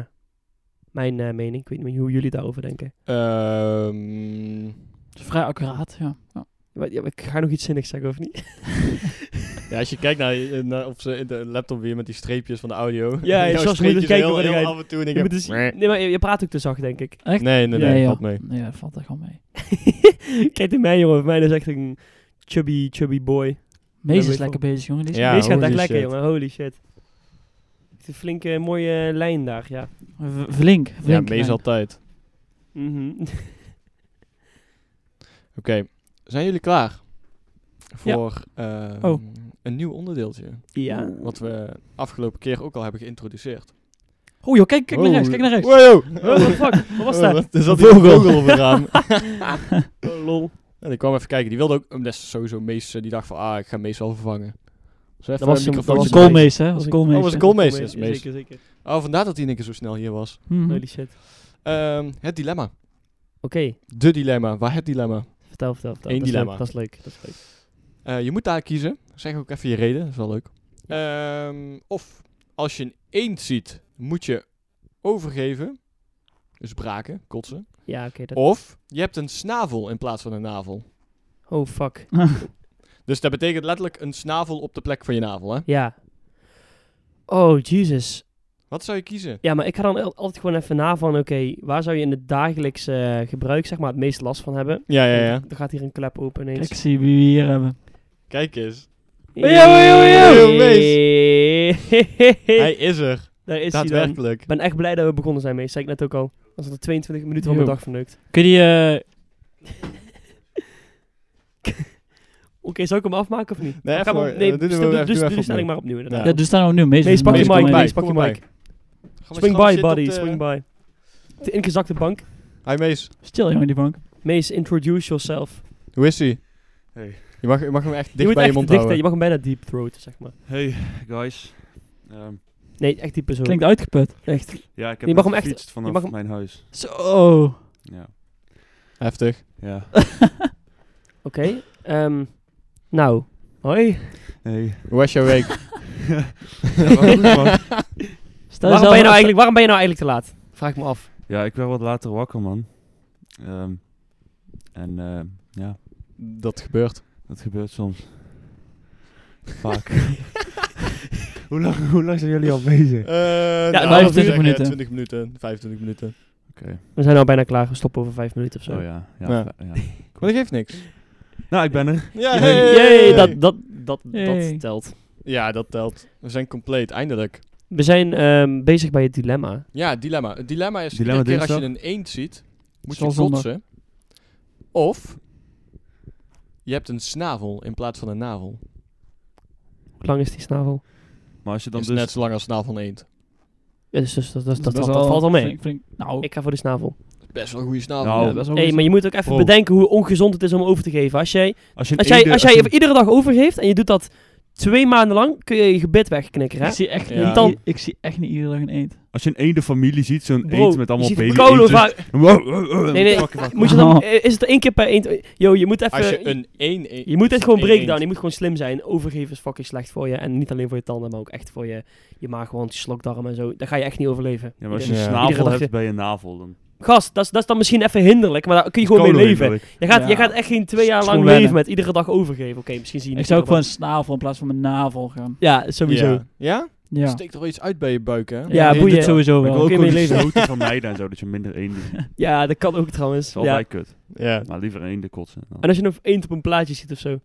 mijn eh, mening. Ik weet niet hoe jullie daarover denken. Ehm, Het is Vrij accuraat, ja. ja. Maar, ja, maar ik ga nog iets zinnigs zeggen, of niet? ja, als je kijkt naar, eh, naar op zijn de laptop weer met die streepjes van de audio. Ja, Jouw zoals we moeten streepjes kijken heel, waar die heel gaan. af en toe. en ik Je moet heb- dus- Nee, nee, maar je, je praat ook te zacht, denk ik. nee, nee, nee, Ja, valt joh. mee. Nee, dat valt echt wel mee. Kijk naar mij, jongen. Voor mij is echt een chubby, chubby boy. Mees weet is ik lekker bezig, jongen. Die is Ja, Deze gaat echt holy lekker, shit. jongen. Holy shit. Een flinke, mooie lijn daar, ja. v- flink, Ja, flink. mees altijd. Mhm. Oké, zijn jullie klaar? Ja. Voor ehm, Oh. een nieuw onderdeeltje. ja. Wat we afgelopen keer ook al hebben geïntroduceerd. Oh joh, kijk, kijk naar rechts, kijk naar rechts. Wow. Oh, what the fuck? Wat was Oh, dat? wat- Er zat Een hier een vogel. vogel op het raam. Oh, lol. En ik kwam even kijken. Die wilde ook... Dat is sowieso Mees. eh, Die dacht van... Ah, ik ga Mees wel vervangen. Dus even Dat was een hem- microfoontje Dat was erbij. koolmees, hè? Dat was koolmees. Oh, was een koolmees. Dat is Mees. Zeker, zeker. Oh, vandaar dat hij in één keer zo snel hier was. Mhm. Holy shit. Oké, Ehm, het dilemma. De dilemma. Waar het dilemma? vertel, vertel, vertel. Eén dat is dilemma. leuk, Dat is leuk, dat is leuk. Eh, je moet daar kiezen. Zeg ook even je reden. Dat is wel leuk. Ehm, of als je een eend ziet, moet je overgeven. Dus braken, kotsen. Ja, oké. dat- Of je hebt een snavel in plaats van een navel. oh, fuck. Dus dat betekent letterlijk een snavel op de plek van je navel, hè? Ja. Oh, Jesus. Wat zou je kiezen? Ja, maar ik ga dan al- altijd gewoon even na van, oké, waar zou je in het dagelijkse eh, gebruik zeg maar het meest last van hebben? Ja, ja, ja. Dan gaat hier een klep open Kijk, ineens. zie wie we hier hebben. Kijk eens. Hey. Yo, yo, yo, Hij is er. Daar is hij dan. Daadwerkelijk. Ik ben echt blij dat we begonnen zijn mee, zei ik net ook al. Dat is al 22 minuten van mijn Yo. dag verneukt. Kun je die... eh, Oké, zou ik hem afmaken of niet? Nee, Ik even hem- hoor. nee, Eh, doe dus, hem dus, even- doe dus, even de stelling opnieuw. maar opnieuw inderdaad. Ja. ja, dus staan we nu mee. Mees, pak je Mees, kom mic, erbij, Mees, pak je kom erbij. mic. Swing by, buddy, swing by. De ingezakte bank. Hi Mees, Stil, jongen, die bank. Mees, introduce yourself. hoe is ie? Hey. Je mag, je mag hem echt je dicht moet bij je echt mond dicht, hè, houden. je mag hem bijna deep throat, zeg maar. Hey guys. Ehm, Nee, echt die persoon. Klinkt uitgeput. echt. ja, ik heb Je net mag hem echt- gefietst vanaf mag hem- mijn huis. Zo. Ja. Heftig. ja. Oké. ehm, nou, hoi. Hey. Hoe was jouw week? Ja, wel goed, man. Stel Waarom jezelf- ben, je nou eigenlijk, waarom ben je nou eigenlijk te laat? Vraag ik me af. ja, ik werd wat later wakker, man. Ehm, en ehm, ja, Dat gebeurt. dat gebeurt soms. Vaak. hoe, lang, hoe lang zijn jullie al bezig? Eh, nou, 25 minuten. 20 minuten, 25 minuten. Oké. We zijn nou bijna klaar. We stoppen over vijf minuten of zo. Oh ja. Ja, Ja. va- ja. Maar dat geeft niks. Nou, ik ben er. Ja, Jee, hey! dat, dat, dat, Hey. dat telt. ja, dat telt. We zijn compleet, eindelijk. We zijn ehm, bezig bij het dilemma. Ja, dilemma. Het dilemma is, Dilemma iedere keer als je dinsdag. een eend ziet, moet Zal je zondag. kotsen. Of, je hebt een snavel in plaats van een navel. Hoe lang is die snavel? Maar als je Dat dan is dus... net zo lang als een snavel van een eend. Ja, dus, dus dat, dat, dat, is dat- dat valt al mee. flink- flink- nou, Ik ga voor de snavel. Best wel een goede snavel. Nou, ja, dat is wel Hey, goed. maar je moet ook even Oh. bedenken hoe ongezond het is om over te geven. Als jij, Als je een als jij, eenden- als jij je een- iedere dag overgeeft en je doet dat twee maanden lang, kun je je gebit wegknikken. Hè? ik, zie echt Ja. niet, Dan- ik zie echt niet iedere dag een eend. als je een eendenfamilie ziet, zo'n Bro, eend met allemaal je ziet baby kolen eendjes. vaak- Wow, wow, wow. Nee, nee, Fuck, fuck, Moet je dan, eh, is het één keer per eend? Yo, Eh, je moet even... Als je een één... Je moet echt gewoon één breakdown. eend- Je moet gewoon slim zijn. Overgeven is fucking slecht voor je. En niet alleen voor je tanden, maar ook echt voor je, je maag, want je slokdarm en zo. Daar ga je echt niet overleven. Ja, maar als je Ja. een Iedere snavel dag je- hebt bij je navel, dan... Gast, dat is, dat is dan misschien even hinderlijk, maar daar kun je gewoon mee leven. Je gaat, je Ja. gaat echt geen twee Het jaar is lang gewoon leven wennen. met iedere dag overgeven. Oké, misschien zie je Ik niet zou ook voor iedere een snavel in plaats van mijn navel gaan. dag. Ja, sowieso. Ja? ja? Ja. Steekt er wel iets uit bij je buik, hè? Ja, nee, boeien. dat sowieso Maar ik wel. wil ook Kun je gewoon mee die leven. stoten vermijden en zo, dat je minder eenden ziet. Dat Ja, dat kan ook trouwens. is ja. altijd kut. Ja. Maar liever eenden kotsen. dan. En als je nog eend op een plaatje ziet of zo.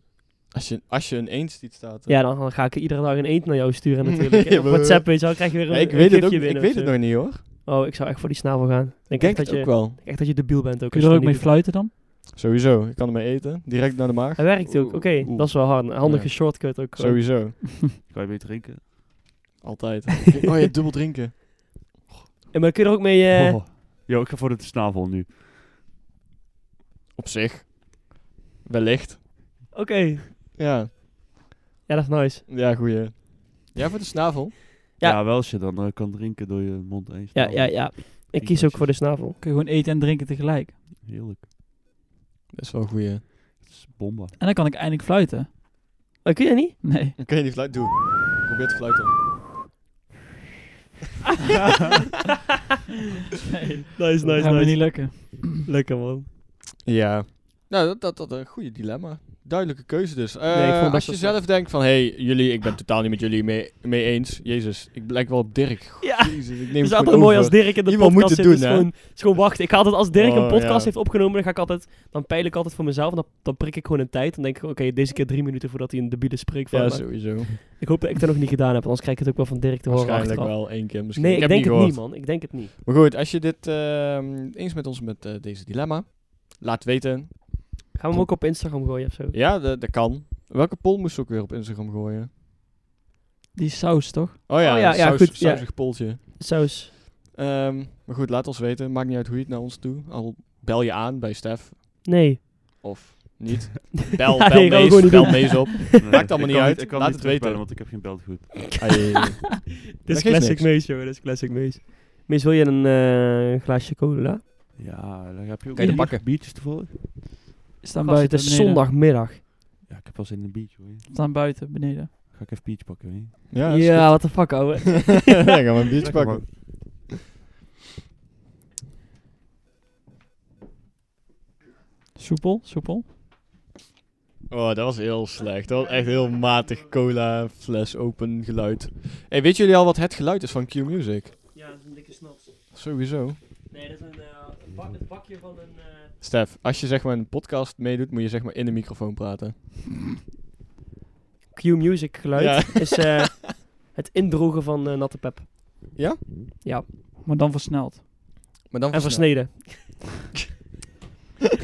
Als je, als je een eend ziet staat... Ja, dan, dan ga ik iedere dag een eend naar jou sturen natuurlijk. Ja, En op maar- WhatsApp, weet je wel, krijg je weer een, Ja, ik een weet het ook gifje ik binnen weet of het zo. nog niet, hoor. Oh, ik zou echt voor die snavel gaan. Ik Ik denk, denk echt, het dat ook je, wel. echt dat je debiel bent ook. Kun als je er dat ook niet mee doet. fluiten dan? Sowieso. Ik kan ermee eten. Direct naar de maag. Hij werkt ook. Oké, Oeh. dat is wel hard. Een handige Ja. shortcut ook. gewoon. Sowieso. Kan je mee drinken? Altijd. oh ja, dubbel drinken. Ja, maar dan kun je er ook mee... eh, Oh. Yo, ik ga voor de snavel nu. Op zich. Wellicht. Oké. Ja. Ja, dat is nice. Ja, goeie. Ja, voor de snavel. Ja. Ja, wel als je dan eh, kan drinken door je mond eens. Ja, ja, ja. Ik kies ook voor de snavel. Kun je gewoon eten en drinken tegelijk. Heerlijk. Dat is wel een goeie. Het is bomba. En dan kan ik eindelijk fluiten. Maar Oh, kun je dat niet? Nee. Dan kun je die fluit doen. Probeer te fluiten. nee. Nice, Dat nice, gaat me nice. niet lukken. Lekker, man. Ja. Nou, dat, dat, dat een goede dilemma. Duidelijke keuze dus. Eh, ik vond best als je wel zelf denkt van, hé, hey, jullie, ik ben totaal niet met jullie mee, mee eens. Jezus, ik blijk wel op Dirk. Ja. Jezus, ik neem Het is het altijd gewoon mooi als over. Dirk in de Iemand moet podcast het zit. doen, is hè? gewoon, is gewoon wachten. Ik ga altijd, als Dirk Oh, een podcast ja. heeft opgenomen, dan, ga ik altijd, dan peil ik altijd voor mezelf. En dan, dan prik ik gewoon een tijd. Dan denk ik, oké, deze keer drie minuten voordat hij een debiele spreekfout Ja, maakt. sowieso. Ik hoop dat ik dat nog niet gedaan heb, anders krijg ik het ook wel van Dirk te horen Waarschijnlijk achteraf. wel één keer misschien. Nee, ik, ik heb denk niet het gehoord. niet, man. Ik denk het niet. Maar goed, als je dit ehm, eens met ons met eh, deze dilemma, laat weten. Gaan we hem ook op Instagram gooien of zo? Ja, dat dat kan. Welke poll moest ik ook weer op Instagram gooien? Die saus toch? Oh ja, Oh ja, ja, saus, goed, ja. sausig polletje. Saus. Ehm, maar goed, laat ons weten. Maakt niet uit hoe je het naar ons toe. Al bel je aan bij Stef Nee. of niet. Bel, Ja, bel nee, gaan we Mees, gewoon niet bel doen. Mees op. Nee, allemaal ik kan niet uit. ik kan Laat niet het terugbellen, weten. want ik heb geen belt goed. Ai, Dit geeft is classic niks. Mees, jongen. Dit is classic Mees. Mees, wil je een eh, glaasje cola? Ja, dan heb je ook Kan je een er pakken? biertjes tevoren. Staan Gast, het buiten. is beneden. zondagmiddag. Ja, ik heb wel zin in een biertje hoor. Staan buiten beneden. Ga ik even biertje pakken hoor. ja, Ja, is what the fuck, ouwe. goed. Dan gaan we een biertje Lekker, pakken. Soepel, soepel. Oh, dat was heel slecht. Dat was echt heel matig cola fles open geluid. hey, weten jullie al wat het geluid is van Q Music? Ja, dat is een dikke snaps. Sowieso. Nee, dat is een, eh, het bakje van een... eh, Stef, als je zeg maar een podcast meedoet, moet je zeg maar in de microfoon praten. Q-music geluid is eh, het indrogen van eh, natte pep. Ja? Ja, Maar dan versneld. Maar dan en versneld. versneden.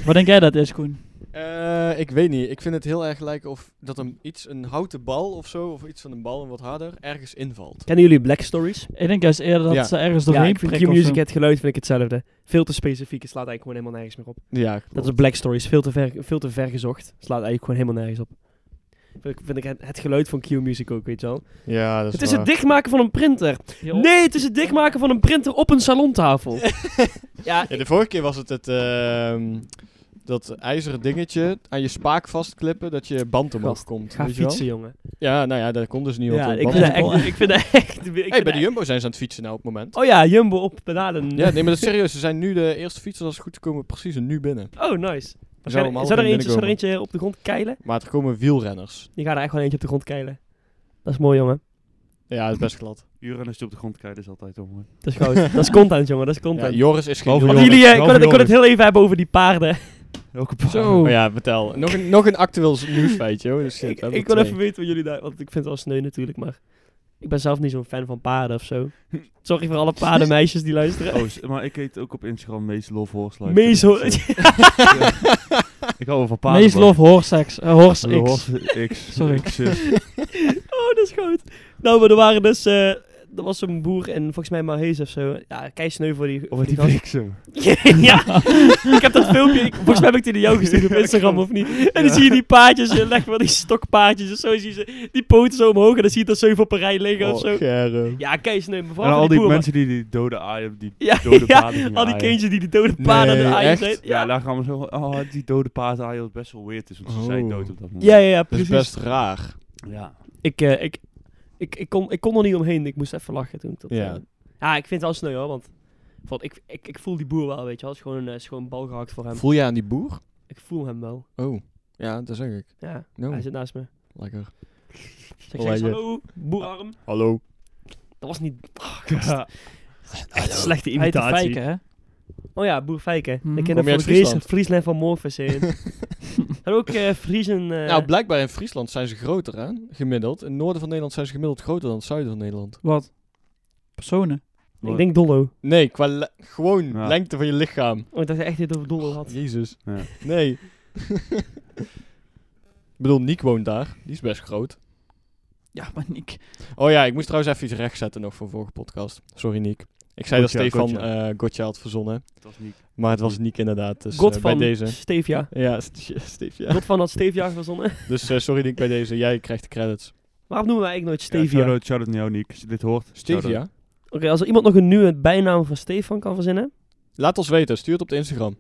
Wat denk jij dat is, Koen? Eh, ik weet niet. Ik vind het heel erg lijken of dat een, iets, een houten bal of zo, of iets van een bal en wat harder, ergens invalt. Kennen jullie Black Stories? Ik denk juist eerder dat Ja. ze ergens ja, doorheen ik vind prikken of Q-music zo. het geluid vind ik hetzelfde. Veel te specifiek, het slaat eigenlijk gewoon helemaal nergens meer op. Ja, Dat is Black Stories, veel te ver, veel te ver gezocht. Slaat eigenlijk gewoon helemaal nergens op. Vind ik, vind ik het, het geluid van Q-music ook, weet je wel. ja dat Het is het dichtmaken van een printer. Heel- Nee, het is het dichtmaken van een printer op een salontafel. ja, Ja, de vorige keer was het het, ehm, dat ijzeren dingetje aan je spaak vastklippen, dat je band omhoog Gast, komt. ga weet je wel? fietsen, jongen. Ja, nou ja, daar komt dus niet op. Ja, eh, ik band vind dat omhoog. echt... Ik vind dat echt ik hey, vind bij de dat- Jumbo zijn ze aan het fietsen nou op het moment. Oh ja, Jumbo op bananen. Ja, nee, maar dat is serieus. Ze zijn nu de eerste fietsers, als het goed is, komen precies een nu binnen. Oh, nice. Zou Waarschijnlijk- om half Zou er, één eentje, zou er eentje binnenkomen. op de grond keilen? Maar er komen wielrenners. Je gaat er echt gewoon eentje op de grond keilen. Dat is mooi, jongen. Ja, dat is best glad. Uren als je op de grond kijkt is dus altijd onmooi. Dat is goud. dat is content, jongen. Dat is Ja, content. Joris is geen Behalve Want wielrenner. jullie, Joris. eh, ik, kon Behalve het, ik kon het heel even hebben over die paarden. Elke paar. Zo. Oh ja, vertel. Nog een, nog een actueel s- nieuwsfeitje. Hoor. Dus, shit, ik we hebben ik wil twee. even weten wat jullie daar... Want ik vind het wel sneu natuurlijk, maar... Ik ben zelf niet zo'n fan van paarden of zo. Sorry voor alle paardenmeisjes die luisteren. Oh, s- maar ik heet ook op Instagram Mees Love Horse Life. Mees Ho- Dus, eh, Ik hou wel van paarden. Meest love horsex. eh, horse man. X. Horse X. Sorry. X is- Oh, dat is goed. Nou, maar er waren dus... eh, er was een boer in volgens mij Marhees of zo. Ja, kei sneu voor die... Of voor met die gast. bliksem. ja, ik heb dat filmpje, ik, volgens mij heb ik die naar jou gestuurd op Instagram of niet. En dan zie je die paardjes, eh, leg maar die stokpaardjes en zo, zie je ze, die poten zo omhoog en dan zie je er zeven op een rij liggen of zo. Oh, Gerro. Ja, Kees, nee, maar En vooral al van die boer, mensen die die dode aaien, die maar- ja, dode ja, paarden al die aaien. kindjes die die dode paarden Nee, aan de aaien echt? zijn. Ja, Ja. daar gaan we zo van, oh, die dode paarden aaien, wat best wel weird is, want ze zijn Oh. dood op dat moment. ja, ja, ja, Dat is precies. best raar. Ja. Ik, eh, ik, ik, ik, kon, ik kon er niet omheen, ik moest even lachen toen. ik dat, Ja. eh, ja, ik vind het wel sneu hoor, want... want ik, ik, ik voel die boer wel, weet je wel. Het is gewoon, eh, is gewoon een bal gehakt voor hem. Voel je aan die boer? Ik voel hem wel. Oh, ja, dat zeg ik. Ja, No. hij zit naast me. Lekker. Dus ik zeg eens, Lekker. hallo, Oh. boerarm. Hallo. Dat was niet. Ah, Ja. echt een slechte Hij heet de imitatie. Fijke, hè? oh ja, boer Fijken. Hmm. Ik ken Mhm. Kom hem je van uit Fries, Friesland? Friesland van Morpheus in. en ook eh Friesen. eh, Nou, blijkbaar in Friesland zijn ze groter, hè? Gemiddeld. In het noorden van Nederland zijn ze gemiddeld groter dan het zuiden van Nederland. Wat? Personen. ik denk Dollo. Nee, qua le- gewoon Ja. lengte van je lichaam. Oh, ik dacht echt dit over Dollo had. Jezus. Ja. Nee. ik bedoel, Niek woont daar. Die is best groot. Ja, maar Nick. Oh ja, ik moest trouwens even iets rechtzetten nog voor vorige podcast. Sorry, Niek. Ik zei Gotcha, dat Stefan gotcha. eh Gotcha had verzonnen. Het was niet... Maar het was Niek inderdaad. Dus God eh, van bij deze. Stevia. Ja, st- ja, Steve, ja. God van dat Stevia verzonnen. Dus eh, sorry Niek bij deze. Jij krijgt de credits. Waarom noemen wij eigenlijk nooit Ja, Stevia? Oké, shout-out shout naar jou, Nick, als je dit hoort. Stevia? shout-out. als er iemand nog een nieuwe bijnaam voor Stefan kan verzinnen. Laat ons weten. Stuur het op de Instagram.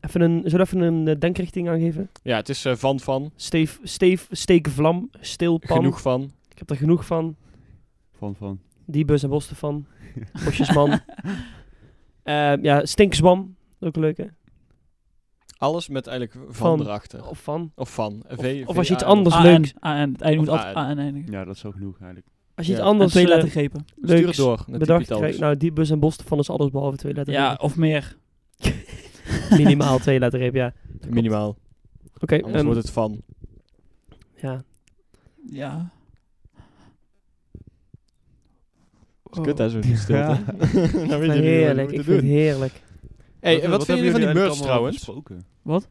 Even een, zullen we even een eh, denkrichting aangeven? Ja, het is eh, van van. Steef, steef, steekvlam, stilpan. Genoeg van. Ik heb er genoeg van. Van, van. Die bus en bosten van. Bosjesman. Eh, ja, Stinkswam. Ook een leuke. Alles met eigenlijk van, Van. erachter. Of van. Of van. Of- V- of als je VA iets anders- Dat is AN. leuk. AN. Het einde Ah, moet Of altijd AN eindigen. Ja, dat is zo genoeg eigenlijk. Als je Ja. iets En En anders twee eh, lettergrepen. Stuur het leuks door naar bedacht Tipi Tals. krijgt, nou die bus en bosten van is alles behalve twee letter. Ja, of meer. Minimaal twee letter ja. Minimaal. Oké, Anders ehm, wordt het van. ja. Ja. Dat is kut hè, zo die stilte. Ja. Dan weet je niet oh. wat je Heerlijk, moet ik vind het eh, doen. heerlijk. Hey, en wat, vinden jullie van die merch trouwens? Besproken? Wat?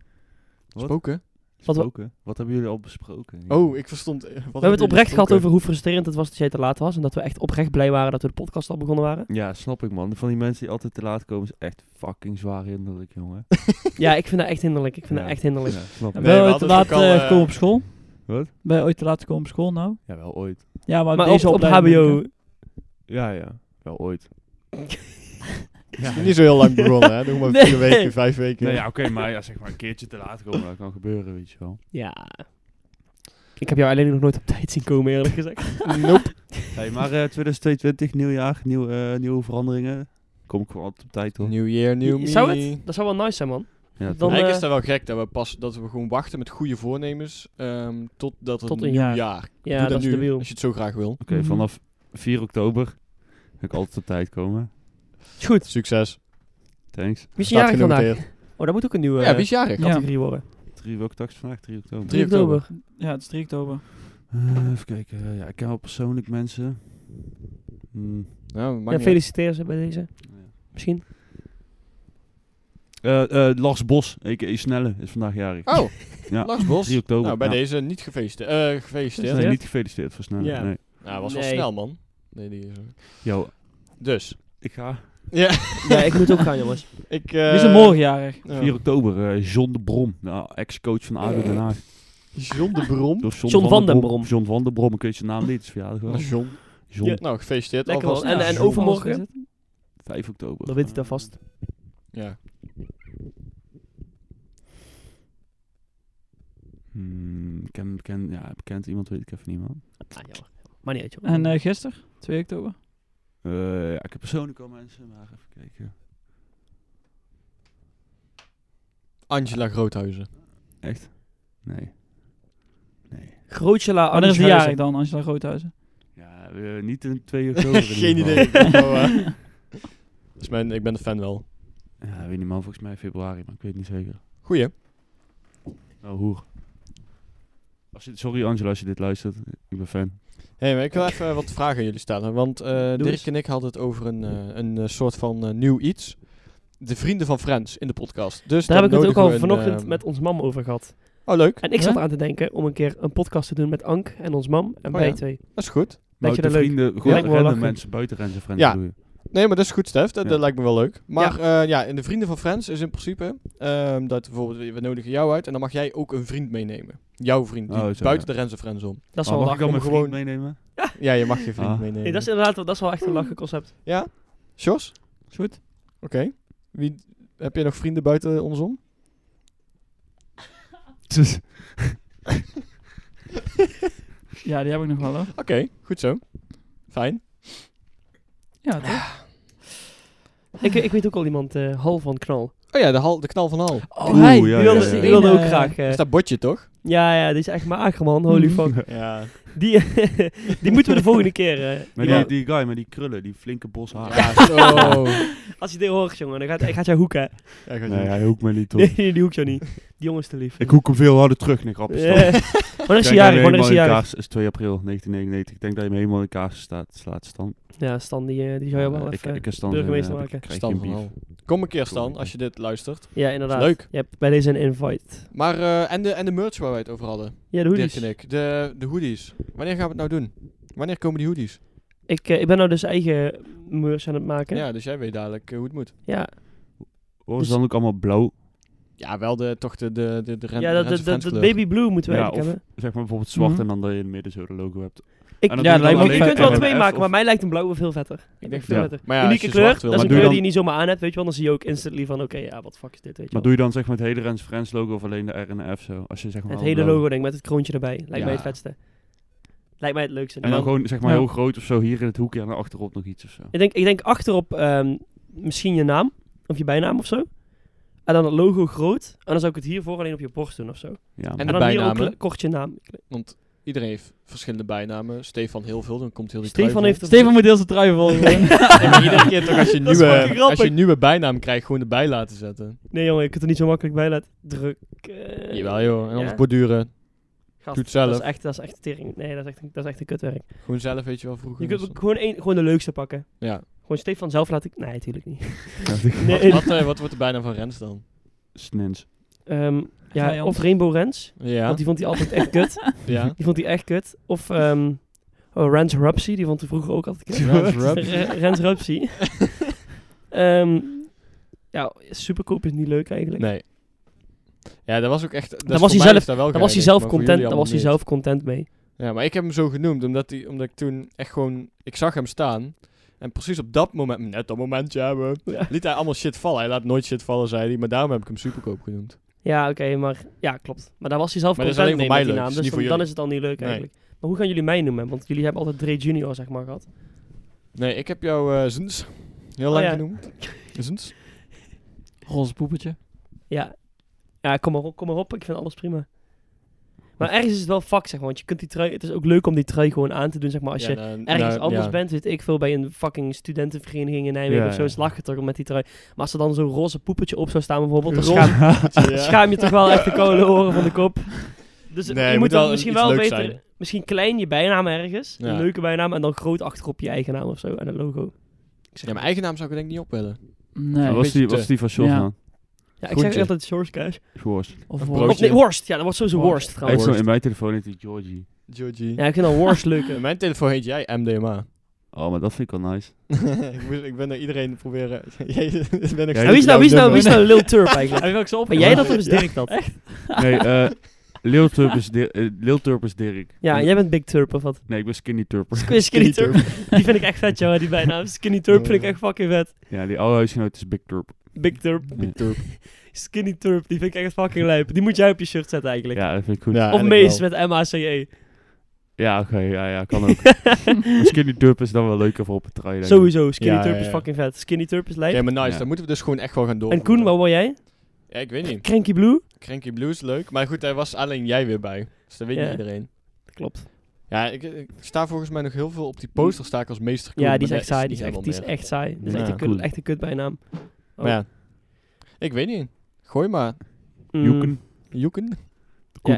Spoken? Wat we- Besproken? Wat hebben jullie al besproken? Oh, ik verstond... eh, Wat We hebben het oprecht gehad over hoe frustrerend het was dat jij te laat was. En dat we echt oprecht blij waren dat we de podcast al begonnen waren. Ja, snap ik man. Van die mensen die altijd te laat komen is echt fucking zwaar hinderlijk, jongen. ja, ik vind dat echt hinderlijk. Ik vind Ja. dat echt hinderlijk. Ja, snap En ik. Nee, ben je we ooit te dus hadden laat het ook al, eh, eh, komen op school? Wat? Ben je ooit te laat komen op school nou? Ja, wel ooit. Ja, maar, Maar op, deze op opleiding denk HBO. ik, Ja, ja. Wel ooit. Het is niet zo heel lang begonnen, hè? Nog maar Nee. Nou vier weken, vijf weken. Nee, ja, oké, maar ja, zeg maar een keertje te laat komen, dat kan gebeuren, weet je wel. Ja. Ik heb jou alleen nog nooit op tijd zien komen, eerlijk gezegd. Nope. Hey, maar eh 2022, nieuw jaar, nieuw, eh, nieuwe veranderingen. Kom ik wel altijd op tijd hoor. New year, new me. Zou het? Dat zou wel nice zijn, man. Ja, Dan, toch. Eigenlijk eh, is dat wel gek dat we pas dat we gewoon wachten met goede voornemens ehm totdat het Tot nieuw een jaar. jaar. Doe Ja, dat is nu, de wiel. als je het zo graag wil. Oké, vanaf 4 oktober kan ik altijd op tijd komen. Is goed. Succes. Thanks. Wie is Staat jarig vandaag? genoteerd. Oh, dat moet ook een nieuwe Ja, eh, wie is jarig? Ja. categorie worden. 3 welke dag is vandaag? 3 oktober. 3 oktober. Ja, het is 3 oktober. Eh, even kijken. eh, ja, ik ken wel persoonlijk mensen. Hmm. Nou, Ja, maakt niet uit. feliciteer ze bij deze. Misschien. Eh, eh, Lars Bos, a.k.a. Snelle, is vandaag jarig. Oh, Ja, Lars Bos. 3 oktober. Nou, bij ja. deze niet gefeliciteerd. Eh, gefeliciteerd. Nee, Ja. niet gefeliciteerd voor Snelle. Ja. Nee. Nou, was wel Nee. snel, man. Nee, die is er. Yo, Dus. ik ga. Ja, Ja, ik moet ook gaan, jongens. ik... Eh, eh, Wie is er morgenjarig? 4 oktober, eh, John de Brom, nou, ex-coach van ADO Den Haag. John de Brom. Door John van den Brom. John van den Brom, ik weet zijn naam niet, het is verjaardag wel. John. John, Nou, gefeliciteerd Lekker alvast. man. En, Ja, en zondag. overmorgen, 5 oktober. dan weet hij dat Ah, vast. Ja. Hmm, ken, ken, ja, bekend iemand weet ik even niet, man. Ah, jammer. Maar niet uit, joh. En eh gisteren? 2 oktober? Ah, Eh, ja, ik heb persoonlijk al mensen, maar even kijken. Angela Oh, Groothuizen. Echt? Nee. Nee. eh, Grootjela Wanneer is de Andershuizen. jarig dan, Angela Groothuizen? Ja, eh, niet in 2 oktober. in ieder Geen geval. idee. Maar, eh, dus mijn, ik ben de fan wel. Ja, weet niet, man, volgens mij februari, maar ik weet het niet zeker. Goeie. hè? Oh, hoer. Als je, sorry Angela, als je dit luistert. Ik ben fan. Hey, maar ik wil even wat vragen aan jullie stellen. Want eh, Dirk eens. en ik hadden het over een, eh, een eh, soort van eh, nieuw iets. De vrienden van Friends in de podcast. Dus Daar dan heb ik het ook nodigen we al een, vanochtend ehm, met ons mam over gehad. Oh, leuk. En ik zat Ja? eraan te denken om een keer een podcast te doen met Ank en ons mam en Oh, wij ja. twee. Dat is goed. Maar je dat leuk? vrienden, Ja, gewoon ik wil random lachen. mensen buiten Rens en Friends Ja. bedoel je? Nee, maar dat is goed, Stef. Dat, Ja. dat lijkt me wel leuk. Maar ja, ja in de vrienden van Friends is in principe ehm, dat bijvoorbeeld we nodigen jou uit en dan mag jij ook een vriend meenemen. Jouw vriend, die Oh, zo, buiten de Rens en Friends om. Dat is Oh, wel mag ik lachen. dan mijn om vriend gewoon- meenemen? Ja, je mag je vriend Ah. meenemen. Nee, dat is inderdaad wel- dat is wel echt een lachen concept. Ja? Jos? Goed. Oké. Wie... Heb je nog vrienden buiten ons om? Ja, die heb ik nog wel hoor. Oké, goed zo. Fijn. Ja, Ah, toch? Ik, ik weet ook al iemand, eh Hal van Knal. Oh ja, de, hal, de knal van Hal. Oh, Oeh, hij, ja, die ja, wilde, ja, die ja. wilde ook Eh, graag. eh, Is dat botje toch? ja, ja, dit is echt mijn ager man, holy fuck. Ja. Die, die moeten we de volgende keer... eh, Maar Ja. die, die guy met die krullen, die flinke bos haar. Ja, zo. als je dit hoort, jongen, dan gaat, hij gaat jou hoeken. Ja, goed. Nee, hij hoekt mij niet, toch? Nee, die hoekt jou niet. Die jongen is te lief. Ik hoek hem veel harder terug, nee, grap. Eh, Wanneer is hij jarig? Wanneer is hij jarig? Het is 2 april 1999. Ik denk dat je hem helemaal in kaars staat, slaat, Stan. Ja, Stan, die, eh, die zou je wel Eh, ik, even... ik heb Stan, burgemeester eh, maken. Ik krijg je Stan een van bief. Hal. Kom een keer Stan, als je dit luistert. ja, inderdaad. leuk. Je hebt bij deze een invite. Maar, eh, en, de, en de merch waar wij het over hadden. Ja, de hoodies. Dirk en ik. De, de hoodies. Wanneer gaan we het nou doen? Wanneer komen die hoodies? Ik, eh, ik ben nou dus eigen merch aan het maken. Ja. Ja, dus jij weet dadelijk eh, hoe het moet. Ja, Oh, is Dus- dan ook allemaal blauw? Ja, wel de, toch de, de, de, de ren, ja dat, dat, Rense dat, Friends dat kleur. baby blue moeten we Ja, eigenlijk of hebben. zeg maar bijvoorbeeld zwart Mhm. en dan dat je in het midden zo de logo hebt. Ik, En Ja, doe je dat lijkt dan me je ook alleen kunt er wel met twee MF maken, of- maar mij lijkt een blauwe veel vetter. Ik denk denk veel ja. vetter. Maar ja, als Unieke je kleur, zwart wil, dat is een maar kleur doe dan- die je niet zomaar aan hebt, weet je wel. Dan zie je ook instantly van, oké, ja, wat fuck is dit, weet je Maar wel. doe je dan zeg maar het hele Rens Friends logo of alleen de R en de F zo? Als je zeg maar Het allemaal hele blauw- logo, denk ik, met het kroontje erbij. Lijkt Ja. mij het vetste. Lijkt mij het leukste. En dan gewoon zeg maar Ja. heel groot of zo hier in het hoekje en dan achterop nog iets of zo. Ik denk, ik denk achterop ehm, misschien je naam, of je bijnaam of zo. En dan het logo groot. En dan zou ik het hiervoor alleen op je borst doen of zo. En Ja, En dan maar- hier ook bijnamen? kle- kort je naam. Want iedereen heeft verschillende bijnamen. Stefan heel veel, dan komt heel die Stefan trui heeft... een- Steven moet heel zijn trui vol. vol. Nee, maar iedere keer toch als je, Dat is fucking nieuwe, als grappig. je een nieuwe bijnaam krijgt, gewoon erbij laten zetten. Nee jongen, ik kan er niet zo makkelijk bij laten drukken. Jawel joh, en anders ja. borduren. Gast, doe het zelf. Dat is echt, dat is echt tering. Nee, dat is echt, dat is echt een kutwerk. Gewoon zelf, weet je wel, vroeger. dus. Je kunt was ook gewoon, één gewoon de leukste pakken. dat. ja. Gewoon Stefan zelf laten... Nee, natuurlijk niet. Wat, Nee, wat, eh, wat wordt de bijnaam van Rens dan? Snins. ehm, ja, Vijand. of Rainbow Rens. Ja, Want die vond hij altijd echt kut. ja. Die vond hij echt kut. Of ehm oh, Rens Rupsy, die vond hij vroeger ook altijd kut. Rens Rupsy. Re- Rens Rupsy. Ehm, ja, superkoop is niet leuk eigenlijk. Nee. Ja, dat was ook echt... was Dat is hij voor mij zelf- is dat wel Daar was hij geinig, zelf maar voor content, jullie daar was hij allemaal zelf content mee. niet. Ja, maar ik heb hem zo genoemd, omdat, die, omdat ik toen echt gewoon... Ik zag hem staan. En precies op dat moment, net dat momentje hebben, Ja, liet hij allemaal shit vallen. Hij laat nooit shit vallen, zei hij. Maar daarom heb ik hem superkoop genoemd. Ja, oké, maar ja, klopt. Maar daar was hij zelf Maar dat is content mee alleen met die voor mij leuk, naam. is Dus niet dan, voor dan jullie. is het al niet leuk Nee. eigenlijk. Maar hoe gaan jullie mij noemen? Want jullie hebben altijd Dre Junior, zeg maar, gehad. Nee, ik heb jou eh Zins heel Oh lang ja. genoemd. Zins. Roze poepetje. Ja, Ja, kom maar op, kom maar op. Ik vind alles prima. Maar ergens is het wel vak, zeg maar. Want je kunt die trui... Het is ook leuk om die trui gewoon aan te doen, zeg maar. Als je nou, ergens anders bent, weet ik veel, bij een fucking studentenvereniging in Nijmegen Ja, of zo, ja. is lachen toch met die trui. Maar als er dan zo'n roze poepetje op zou staan bijvoorbeeld, dan Roze schaam, schaam je toch wel echt de koude oren van de kop. Dus Nee, je het moet, moet dan wel misschien iets wel leuks beter, zijn. misschien klein je bijnaam ergens, Ja. een leuke bijnaam, en dan groot achterop je eigen naam of zo, en een logo. Ik zeg, Ja, mijn eigen naam zou ik er denk ik niet op willen. Nee. Ja, was was, die- die, was van Sjors Ja. dan? dan? ja, ik zeg groentje. altijd Source Cash. Of Een worst. Of broodje. nee, worst. Ja, dat wordt sowieso Worst. worst Hij heeft trouwens. zo in mijn telefoon heet hij Georgie. Georgie. Ja, ik vind dan worst leuker. In mijn telefoon heet jij MDMA. Oh, maar dat vind ik wel nice. ik, moest- ik ben naar iedereen proberen. Jij- ik ben nog En wie Ja, is steeds nou, wie is nou, jouw wie is nou nummer. Lil Turp eigenlijk? Heb je ook zo op? Ben jij dat of is Dirk dat? Echt? Nee, eh Lil Turp is, Dir- eh, Lil Turp is Dirk. Ja, En- jij bent Big Turp of wat? Nee, ik ben Skinny Turper. Skinny, Skinny Turp. Die vind ik echt vet, jongen, die bijnaam. Skinny Turp vind ik echt fucking vet. Ja, die oude huisgenoot is Big Turp. Big Turp. Big Turp. Skinny Turp, die vind ik echt fucking lijp. Die moet jij op je shirt zetten eigenlijk. Ja, dat vind ik goed. Ja, Ja, of eigenlijk Mees wel. met M-A-C-E. oké, ja, ja, kan ook. Maar skinny Turp is dan wel leuker voor op het trui. denk ik. Sowieso, Skinny Ja, Turp ja, is ja. fucking vet. Skinny Turp is lijp. Oké, maar nice. Ja. Dan moeten we dus gewoon echt wel gaan door. en Koen, waar word jij? Ja, ik weet niet. Cranky Blue? Cranky Blues, leuk. Maar goed, daar was alleen jij weer bij. Dus dat weet Ja. niet iedereen. Klopt. Ja, ik, ik sta volgens mij nog heel veel op die poster sta ik als meester Koen, Ja, maar die is dat echt saai. Die is niet echt, die is helemaal echt saai. Dat is echt Ja, een kut, cool. echt een kut bijnaam. meer. Maar ja, ik weet niet. Gooi maar. Mm. Joeken. Joeken. Komt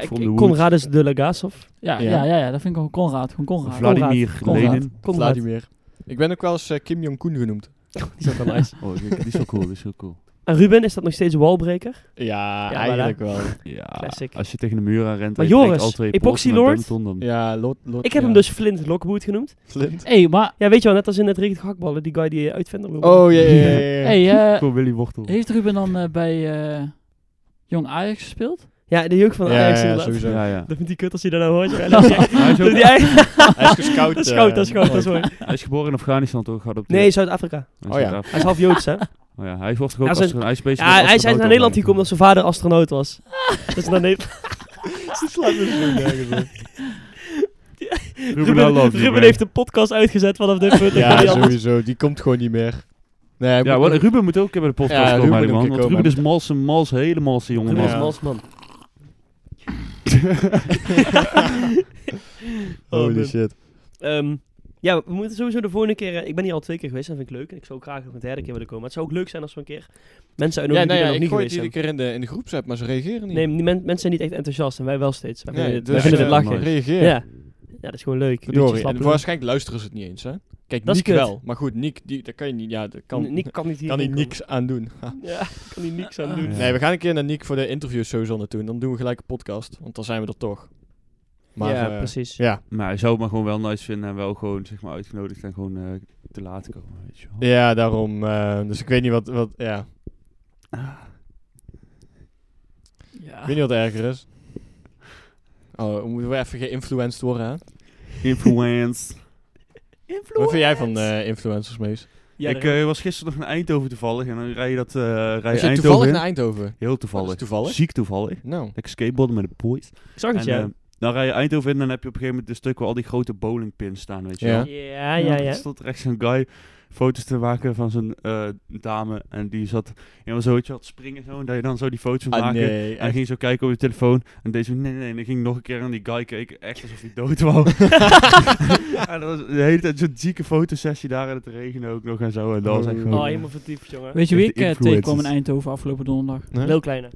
Ja, ik, from the ik, woods. Conradus de Lagasov. Ja, Ja. ja, ja, ja, dat vind ik ook Conrad. Gewoon Conrad. Vladimir Conrad. Lenin. Conrad. Die Vladimir. Ik ben ook wel eens eh, Kim Jong-un genoemd. is ook wel nice. Oh, die die is wel cool, die is wel cool. En Ruben, is dat nog steeds Wallbreaker? Ja, voilà. eigenlijk wel. Ja, Classic. als je tegen de muur aan rent Maar en je breekt Joris, al twee Epoxy polsen met Lord? Benetton, dan- Ja, lot, lot, Ik heb ja. hem dus Flint Lockwood genoemd. Flint. Hé, hey, maar... Ja, weet je wel, net als in het regent hakballen, die guy die eh, uitvinder wil. Oh, ja, ja, ja, ja. Hey, eh, Voor Willy Wortel. heeft Ruben dan eh, bij eh, Jong Ajax gespeeld? Ja, de jeugd van Ja, Ajax ja, ja, inderdaad. sowieso. Ja, ja. Dat vindt die kut als hij daar nou hoort. Dat is echt- Hij is, dat ook- is echt- Hij is gescout. dat is eh, goud, dat is goud, dat is ooit. mooi. hij is geboren in Afghanistan toch? Gaat op de- Nee, Zuid-Afrika. Hij is Oh ja. Zuid-Afrika. Hij is half Joods, hè? Ja, Oh ja, hij is was toch ook Ja, zijn- astro- hij is bezig met hij is astronaut naar Nederland gekomen opleiding. omdat zijn vader astronaut was. Dus naar Nederland. Ze slaat me zo nergens op. Ruben, I love you, Ruben man. heeft de podcast uitgezet vanaf dit punt. Ik kan Ja, niet anders. sowieso. Die komt gewoon niet meer. Nee, hij Ja, moet- want Ruben moet ook een keer bij de podcast Ja, komen, Ruben Ruben moet man. een Want keer Ruben komen. is mals, een mals, hele malse jongen. Ruben man. is een Ja. man. Oh, Holy man. shit. Ehm, ja, we moeten sowieso de volgende keer... eh, Ik ben hier al twee keer geweest, dat vind ik leuk. En ik zou ook graag nog een derde keer willen komen. Maar het zou ook leuk zijn als we een keer mensen uitnodigen Ja, nou die ja, er nog ik niet gooi geweest het zijn. iedere keer in de, in de groepsapp, maar ze reageren niet. Nee, die men- mensen zijn niet echt enthousiast en wij wel steeds. Wij Nee, vinden het- dus, wij vinden het eh, lachen. mooi. Reageer. Ja. ja, dat is gewoon leuk. Een beetje Verdorie. En slappen. waarschijnlijk luisteren ze het niet eens, hè? Kijk, Dat is Niek kut. wel. Maar goed, Niek, die, daar kan je niet... Ja, daar kan, N- Nick kan niet hier kan hij komen. niks aan doen. Ha. Ja, kan hij niks aan doen. Ja. Nee, we gaan een keer naar Niek voor de interviews sowieso naartoe. En dan doen we gelijk een podcast, want dan zijn we er toch. Maar, ja, eh, precies. Ja. Maar hij zou het maar gewoon wel nice vinden en wel gewoon zeg maar, uitgenodigd en gewoon eh, te laat komen. Weet je wel. ja, daarom. eh, dus ik weet niet wat... wat ja. Ah, Ja. Ik weet niet wat erger is. Oh, moeten we even geïnfluenced worden, hè? Influence. Wat vind jij van eh, influencers, Mees? Ja, ik daar- eh, was gisteren nog in Eindhoven toevallig en dan rij je dat eh rij Was je je toevallig Eindhoven. naar Eindhoven? Heel Dat toevallig. is toevallig. Ziek toevallig. Nou. Lekker skateboarden met de boys. ik zag het, En, ja. eh, dan rij je Eindhoven in en dan heb je op een gegeven moment een stuk waar al die grote bowlingpins staan, weet je Ja. wel. ja, ja, Er ja. stond rechts een guy foto's te maken van zijn eh, dame. En die zat helemaal zo, weet je wel, te springen zo. En dat je dan zo die foto's van Ah, maken. nee. En hij echt. ging zo kijken op je telefoon. En deze nee, nee. En dan ging nog een keer aan die guy kijken. Echt alsof hij dood wou. en dat was de hele tijd zo'n zieke fotosessie daar. En het regende ook nog en zo. En dat was echt gewoon... Oh, helemaal vertiefd, jongen. Weet je wie Heeft ik eh, influencers. tegenkwam in Eindhoven afgelopen donderdag? Nee? Heel kleine.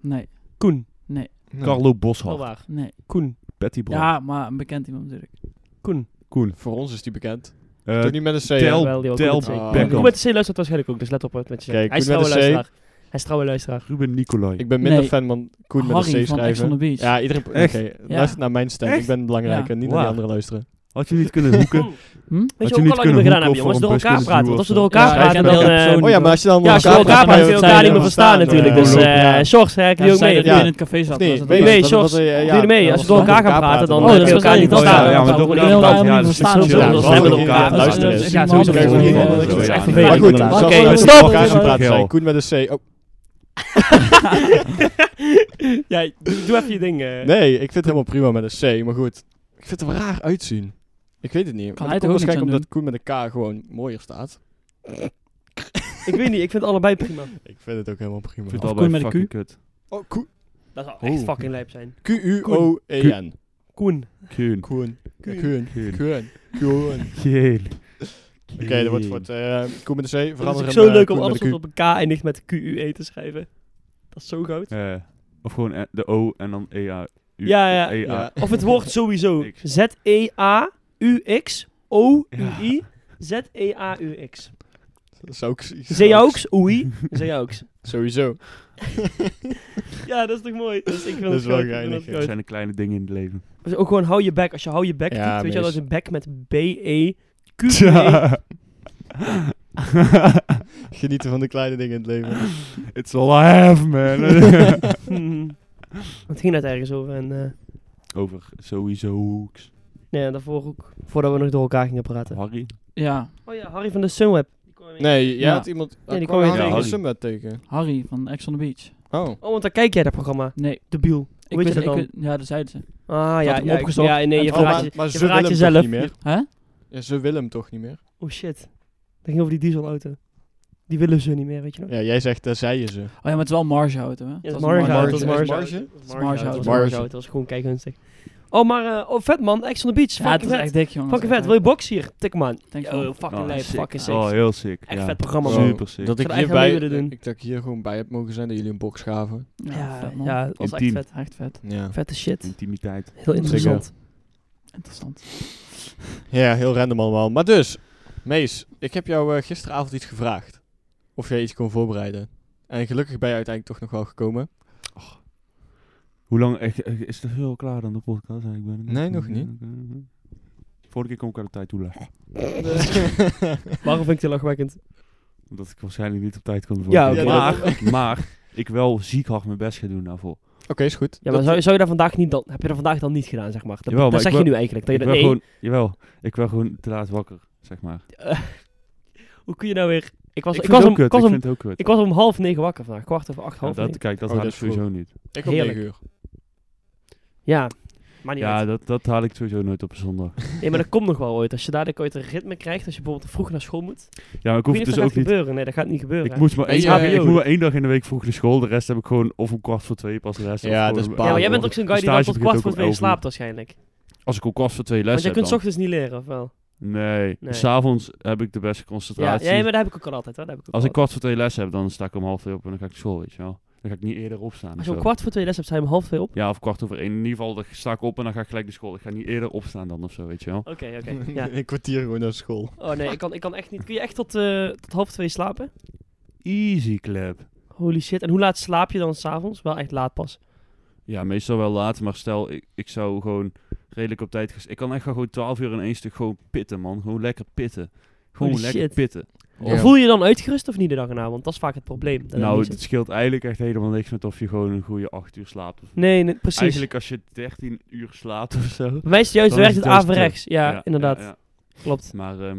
Nee, Koen. Nee. Carlo Wel Boshart. waar. nee. Koen. Betty Brand. Ja, maar een bekend iemand natuurlijk. Koen. Koen. Voor ons is die bekend. Eh, Toch niet met een C. Tel- hè? Jawel, die ook Tel met C. Beckham. Koen met de C luistert waarschijnlijk ook, dus let op wat met je zegt. Kijk, Hij is Koen met trouwe de C. luisteraar. Hij is trouwe luisteraar. Ruben Nicolai. Ik ben minder Nee. fan van Koen met Harry een C van Ex on the schrijven. Beach. Ja, iedereen... Oké, Echt? Ja. luister naar mijn stem. Echt? Ik ben belangrijker. Ja. Niet naar die Waar? anderen luisteren. Had je niet kunnen hoeken? Hm? Weet je je wat niet we ook al niet meer kunnen gedaan hebben, hoeken jongens? of Door een elkaar bus kunnen praten. Want als we door doen of elkaar zo. Ja, praten, ik ken dan... dat eh, persoon. Oh ja, maar als je dan... Ja, als je door elkaar praat, kun je Ja, elkaar dat niet meer zei- verstaan ja. natuurlijk. Dus eh, Sjors, hè, heb je Ja, ook zei mee? dat Ja. je in het café zat. Of nee, was dat weet ook- je, Nee, dat Sjors, was, eh, ja, doe je mee. dat Als we was door elkaar dan gaan praten, dan Oh, dat kun je was elkaar niet eigenlijk- verstaan. oh, ja, Dan gaan maar we door gewoon heel elkaar erg praten, ja, dat is verstaan. dus chill. Zullen we Ja, ons dat hebben is door wel- elkaar ja, praten? luisteren is- Ja, ja, sowieso. dat is vervelend. wel- Dat is Ja, echt maar Maar vervelend. goed, Ja. Oké, Oké, we stop. stop. elkaar gaan praten. Geel. zijn. Koen met een C. Oh, Ja, doe even je ding. eh. nee, ik vind het helemaal prima met een C. Maar goed, ik vind het er raar uitzien. Ik weet het niet. Kan Maar hij dat komt toch ook niks waarschijnlijk aan omdat Koen met een K gewoon mooier staat. Ik weet niet, ik vind het allebei prima. Ik vind het ook helemaal prima. Ik vind Of het Koen allebei met een fucking kut. Oh, Koen. Dat zou echt Oeh. fucking lijp zijn. Q-U-O-E-N. Koen. Kuhn. Koen. E Koen. Koen. Koen. Koen. Jeel. Oké, dat wordt voor het eh, Koen met de C. Dat is Veranderen ook zo leuk om alles wat op een K eindigt met QUE te schrijven. Dat is zo goud. Eh, of gewoon eh, de O en dan E-A. U- E Ja, ja. E-A. Ja. Of het woord sowieso. X. Z-E-A-U-X-O-U-I. Z-E-A-U-X. Dat zou ik zien. Zeaux, oei. Zeaux. Sowieso. Ja, dat is toch mooi? Dus ik vind Dat het is wel goud, ik vind geinig, het Dat goud. zijn de kleine dingen in het leven. Dus ook gewoon hou je bek. Als je hou je bek Ja, typt, weet je wel, dat is meest. een bek met E B-E-Q-E. Genieten van de kleine dingen in het leven. It's all I have, man. Hmm. Het ging net ergens over en eh, Over sowieso nee, daarvoor ook, voordat we nog door elkaar gingen eh? praten. Harry. Ja, Oh ja, Harry van de Sunweb. Nee, jij Ja. had iemand... Ja, die ik kwam kwam je tegen tegen. de Sunbed tegen. Harry van Ex on the Beach. Oh. Oh, want dan kijk jij dat programma. Nee. De Biel. Hoe weet je wist- dat dan? wist- ja, dat zeiden ze. ah, had ja, ik hem ja, ik- opgezocht. ja, nee, En je toen- verraadt, Oh, maar, je, maar je ze willen verraadt hem jezelf. toch niet meer? Hè? Ja, ze willen hem toch niet meer? Oh shit. Dat ging over die dieselauto. Die willen ze niet meer, weet je nog? Ja, jij zegt, eh, daar zeiden ze. Oh ja, maar het is wel marge auto, hè? Ja, Het dat was een is marge. Dat is Marge. marge. Marge. Dat is Marge. Dat is Marge. marge. Dat was gewoon kijkgunstig. Oh, maar eh, oh, vet man. Ex on the Beach. Ja, het Fucking is vet. echt dik, jongen. Fucking vet. Wil je box hier? Tik man. Thanks, Yo, man. fucking Oh, lijp. sick. Fucking sick. Oh, heel sick. Echt ja. vet programma, Wow. man. Super sick. Dat Zou er ik, hier eigenlijk bij, mee willen doen? ik, dat ik hier gewoon bij heb mogen zijn dat jullie een box gaven. Ja, Ja, vet, man. Hm. ja, dat was echt Intiem. vet. Echt vet. Ja. Vette shit. Intimiteit. Heel interessant. Interessant. ja, heel random allemaal. Maar dus, Mees, ik heb jou eh, gisteravond iets gevraagd. Of jij iets kon voorbereiden. En gelukkig ben je uiteindelijk toch nog wel gekomen. Hoe lang echt, echt, is het heel klaar dan de podcast? Ja, Ik ben er Nee, nog niet. Oké. Vorige keer kon ik aan de tijd toe leggen. Waarom vind ik het lachwekkend? Omdat ik waarschijnlijk niet op tijd kon. de Ja, vorige oké. keer. Ja, dat- maar, maar ik wel ziek hard mijn best ga doen daarvoor. Oké, is goed. Ja, maar Dat- zou, zou je dat vandaag niet dan... Heb je dat vandaag dan niet gedaan, zeg maar? Dat, Jawel, dat maar zeg ik je wil- nu eigenlijk. Dat je Ik dat, ben nee, gewoon, jawel, ik ben gewoon te laat wakker, zeg maar. hoe kun je nou weer... Ik was, ik, ik vind was, het om, ook ik, kut, was ik om, vind het ook kut. ik was om half negen wakker vandaag. Kwart over acht, Ja, half dat, negen. kijk, dat Oh, haal dat ik is vroeg. sowieso niet. ik om heerlijk. 9 uur. Ja, maar niet Ja, uit. dat, dat haal ik sowieso nooit op een zondag. Nee, maar dat komt nog wel ooit. Als je dadelijk ooit een ritme krijgt, als je bijvoorbeeld vroeg naar school moet. Ja, maar ik Ik weet hoef het niet of dus dat ook gaat niet. gebeuren. Nee, dat gaat niet gebeuren. Ik, moest maar Ben één, je- dag, ik HBO? moet maar één dag in de week vroeg naar school. De rest heb ik gewoon of om kwart voor twee pas de rest. Ja, of gewoon dat is om- baal, ja, maar jij hoor. bent ook zo'n guy die dan Stage tot begint kwart ook voor om twee 11 uur. slaapt waarschijnlijk. Als ik om kwart voor twee les Want jij heb kunt dan. ochtends niet leren, of wel? Nee, Dus Nee. s'avonds heb ik de beste Ja, concentratie. ja, maar dat heb ik ook al altijd. Hoor. Dat heb ik ook Als al ik kwart voor twee les heb, dan sta ik om half twee op en dan ga ik naar school, weet je wel. Dan ga ik niet eerder opstaan. Als of je om zo. kwart voor twee les hebt, zijn we om half twee op. Ja, of kwart over één. In ieder geval, dan sta ik op en dan ga ik gelijk naar school. Ik ga niet eerder opstaan dan of zo, weet je wel. Oké, oké. ja. Een kwartier gewoon naar school. Oh nee, ik kan, ik kan echt niet. Kun je echt tot, eh, tot half twee slapen? Easy clap. Holy shit. En hoe laat slaap je dan s'avonds? Wel echt laat pas. Ja, meestal wel laat, maar stel, ik, ik zou gewoon redelijk op tijd... ges- Ik kan echt wel gewoon twaalf uur in één stuk gewoon pitten, man. Gewoon lekker pitten. Gewoon Holy lekker shit. pitten. Ja. Voel je je dan uitgerust of niet de dag erna? Want dat is vaak het probleem. Dat nou, het het niet zo- scheelt eigenlijk echt helemaal niks met of je gewoon een goede acht uur slaapt. Of nee, nee, precies. Eigenlijk als je 13 uur slaapt of zo. Bij mij is het juist Dan werkt is het het juist averechts. Ja, inderdaad. ja, ja. Klopt. Maar ehm,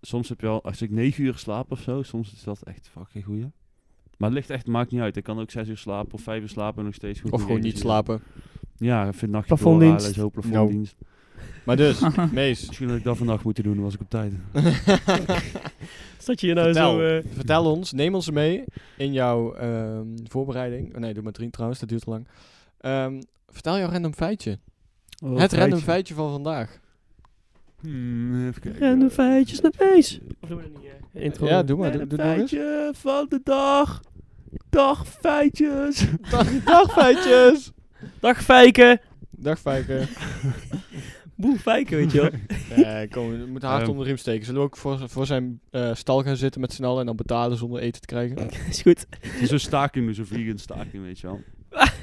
soms heb je al, als ik 9 uur slaap of zo, soms is dat echt fucking goeie. Maar het ligt echt, maakt niet uit. Ik kan ook 6 uur slapen of 5 uur slapen en nog steeds goed. Of gewoon gegevens niet hebben. slapen. Nou. Ja, ik vind nachtje Plafonddienst. doorhalen, zo plafonddienst. Maar dus, Mees. Misschien had ik dat vandaag moeten doen, was ik op tijd. Zat je hier nou vertel, zo... eh, vertel ons, neem ons mee in jouw ehm, voorbereiding. Oh, nee, doe maar drie trouwens, dat duurt te lang. Ehm, vertel jouw random feitje. Oh, het random feitje van vandaag. Hmm, even kijken. Random feitjes met meis. Of doen we dat niet? eh, intro. Ja, doe maar. Doe, Random doe nog eens. feitje van de dag. Dag feitjes. Dag, dag feitjes! Dag Fijken. Dag feiken. Boe Fijken, weet je wel. Nee, Eh, kom, we moeten hard Ehm. onder de riem steken. Zullen we ook voor, voor zijn eh, stal gaan zitten met z'n allen en dan betalen zonder eten te krijgen? is goed. Het is een staking, dus een vegan staking, weet je wel.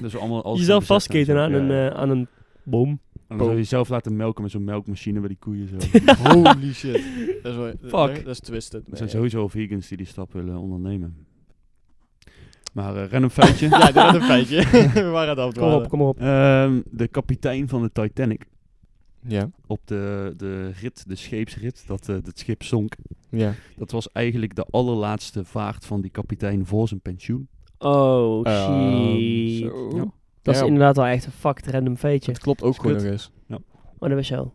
Dus allemaal alles Jezelf bezet zijn, vastketen zo. aan, Ja, een, ja. eh, aan een boom. En dan zou je jezelf laten melken met zo'n melkmachine bij die koeien zo. Holy shit. Dat is, wel, Dat, dat is twisted. Er zijn sowieso vegans die die stap willen ondernemen. Maar eh random feitje. Ja, dit was een feitje. we waren aan het Kom afdwalen. op, kom op. Ehm, de kapitein van de Titanic Ja. op de, de rit, de scheepsrit, dat eh het schip zonk. Ja. Dat was eigenlijk de allerlaatste vaart van die kapitein voor zijn pensioen. Oh, Ehm, shit. zo. Ja. Dat is Ja. inderdaad wel echt een fucked random feitje. Het klopt ook Is gewoon kut. nog eens. Oh, dat wist je al.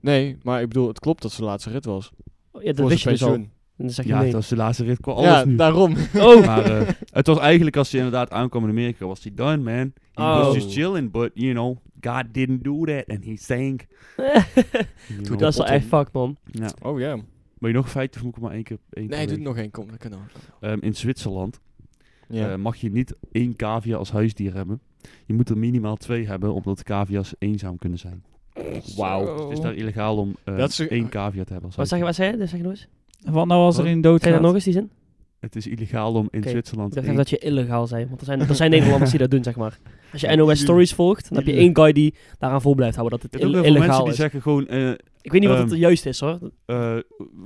Nee, maar ik bedoel, het klopt dat zijn laatste rit was. Oh, Ja, dat voor wist je zijn dus al. pensioen. En dan zeg je Ja, nee. dat was de laatste rit. Kwam alles ja, nu. daarom. Oh, Maar eh, het was eigenlijk als hij inderdaad aankwam in Amerika, was hij done, man. He Oh. was just chilling, but you know, God didn't do that and he sank. You know. dat is wel echt fuck, man. Ja. Oh ja. Wil je nog feiten of moet ik maar één keer? Één per Nee, doe week? er nog één. Kom, dat kan ook. Ehm, in Zwitserland Ja. eh, mag je niet één cavia als huisdier hebben. Je moet er minimaal twee hebben, omdat cavia's eenzaam kunnen zijn. Wauw. Dus het is daar illegaal om eh, Dat is- één cavia te hebben Wat als huisdier. zeg je, wat zei je? Dat Zeg je nog eens? Wat nou als er Wat? in Zeg je dat doodgaat? nog eens, die zin? Het is illegaal om in Oké, Zwitserland Ik dacht één- even dat je illegaal zei, want er zijn, er zijn Nederlanders die dat doen, zeg maar. Als je NOS Jullie- Stories volgt, dan heb je één guy die daaraan vol blijft houden dat Je het hebt ook ill- heel veel mensen illegaal die is. zeggen gewoon eh, Ik weet niet wat het ehm, juist is, hoor. eh,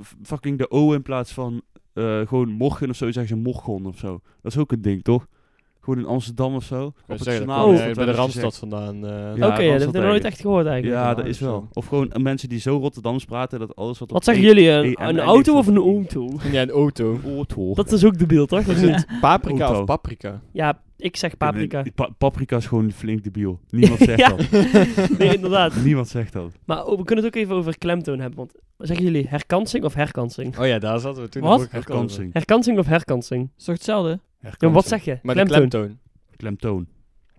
f- fucking de O in plaats van eh, gewoon morgen of zo, zeggen ze morgon of zo. Dat is ook een ding, toch? Gewoon in Amsterdam of zo. Op het journaal journaal. wordt eh, dat bij wel de eens Randstad gezegd. vandaan. eh, Ja, Oké, dat dat is heb ik dat nooit eigenlijk. echt gehoord, eigenlijk. Ja, Ja, dat is dat is wel. wel. Of gewoon mensen die zo Rotterdams praten dat alles wat... Wat zeggen jullie, E- een, en- een en auto dit of een soort dingen. auto? Ja, een auto. Oortol. Dat is ook de beeld, toch? Is het paprika Auto. of paprika? Ja, ik zeg paprika. eh, Pa- paprika is gewoon flink debiel. Niemand zegt Ja. dat. Nee, inderdaad. Niemand zegt dat. Maar oh, we kunnen het ook even over klemtoon hebben, want wat zeggen jullie herkansing of herkansing? Oh ja, daar zaten we toen Wat? nog ook echt al over. Herkansing. Herkansing of herkansing? Is toch hetzelfde? Ja, wat zeg je? Maar de klemtoon. klemtoon.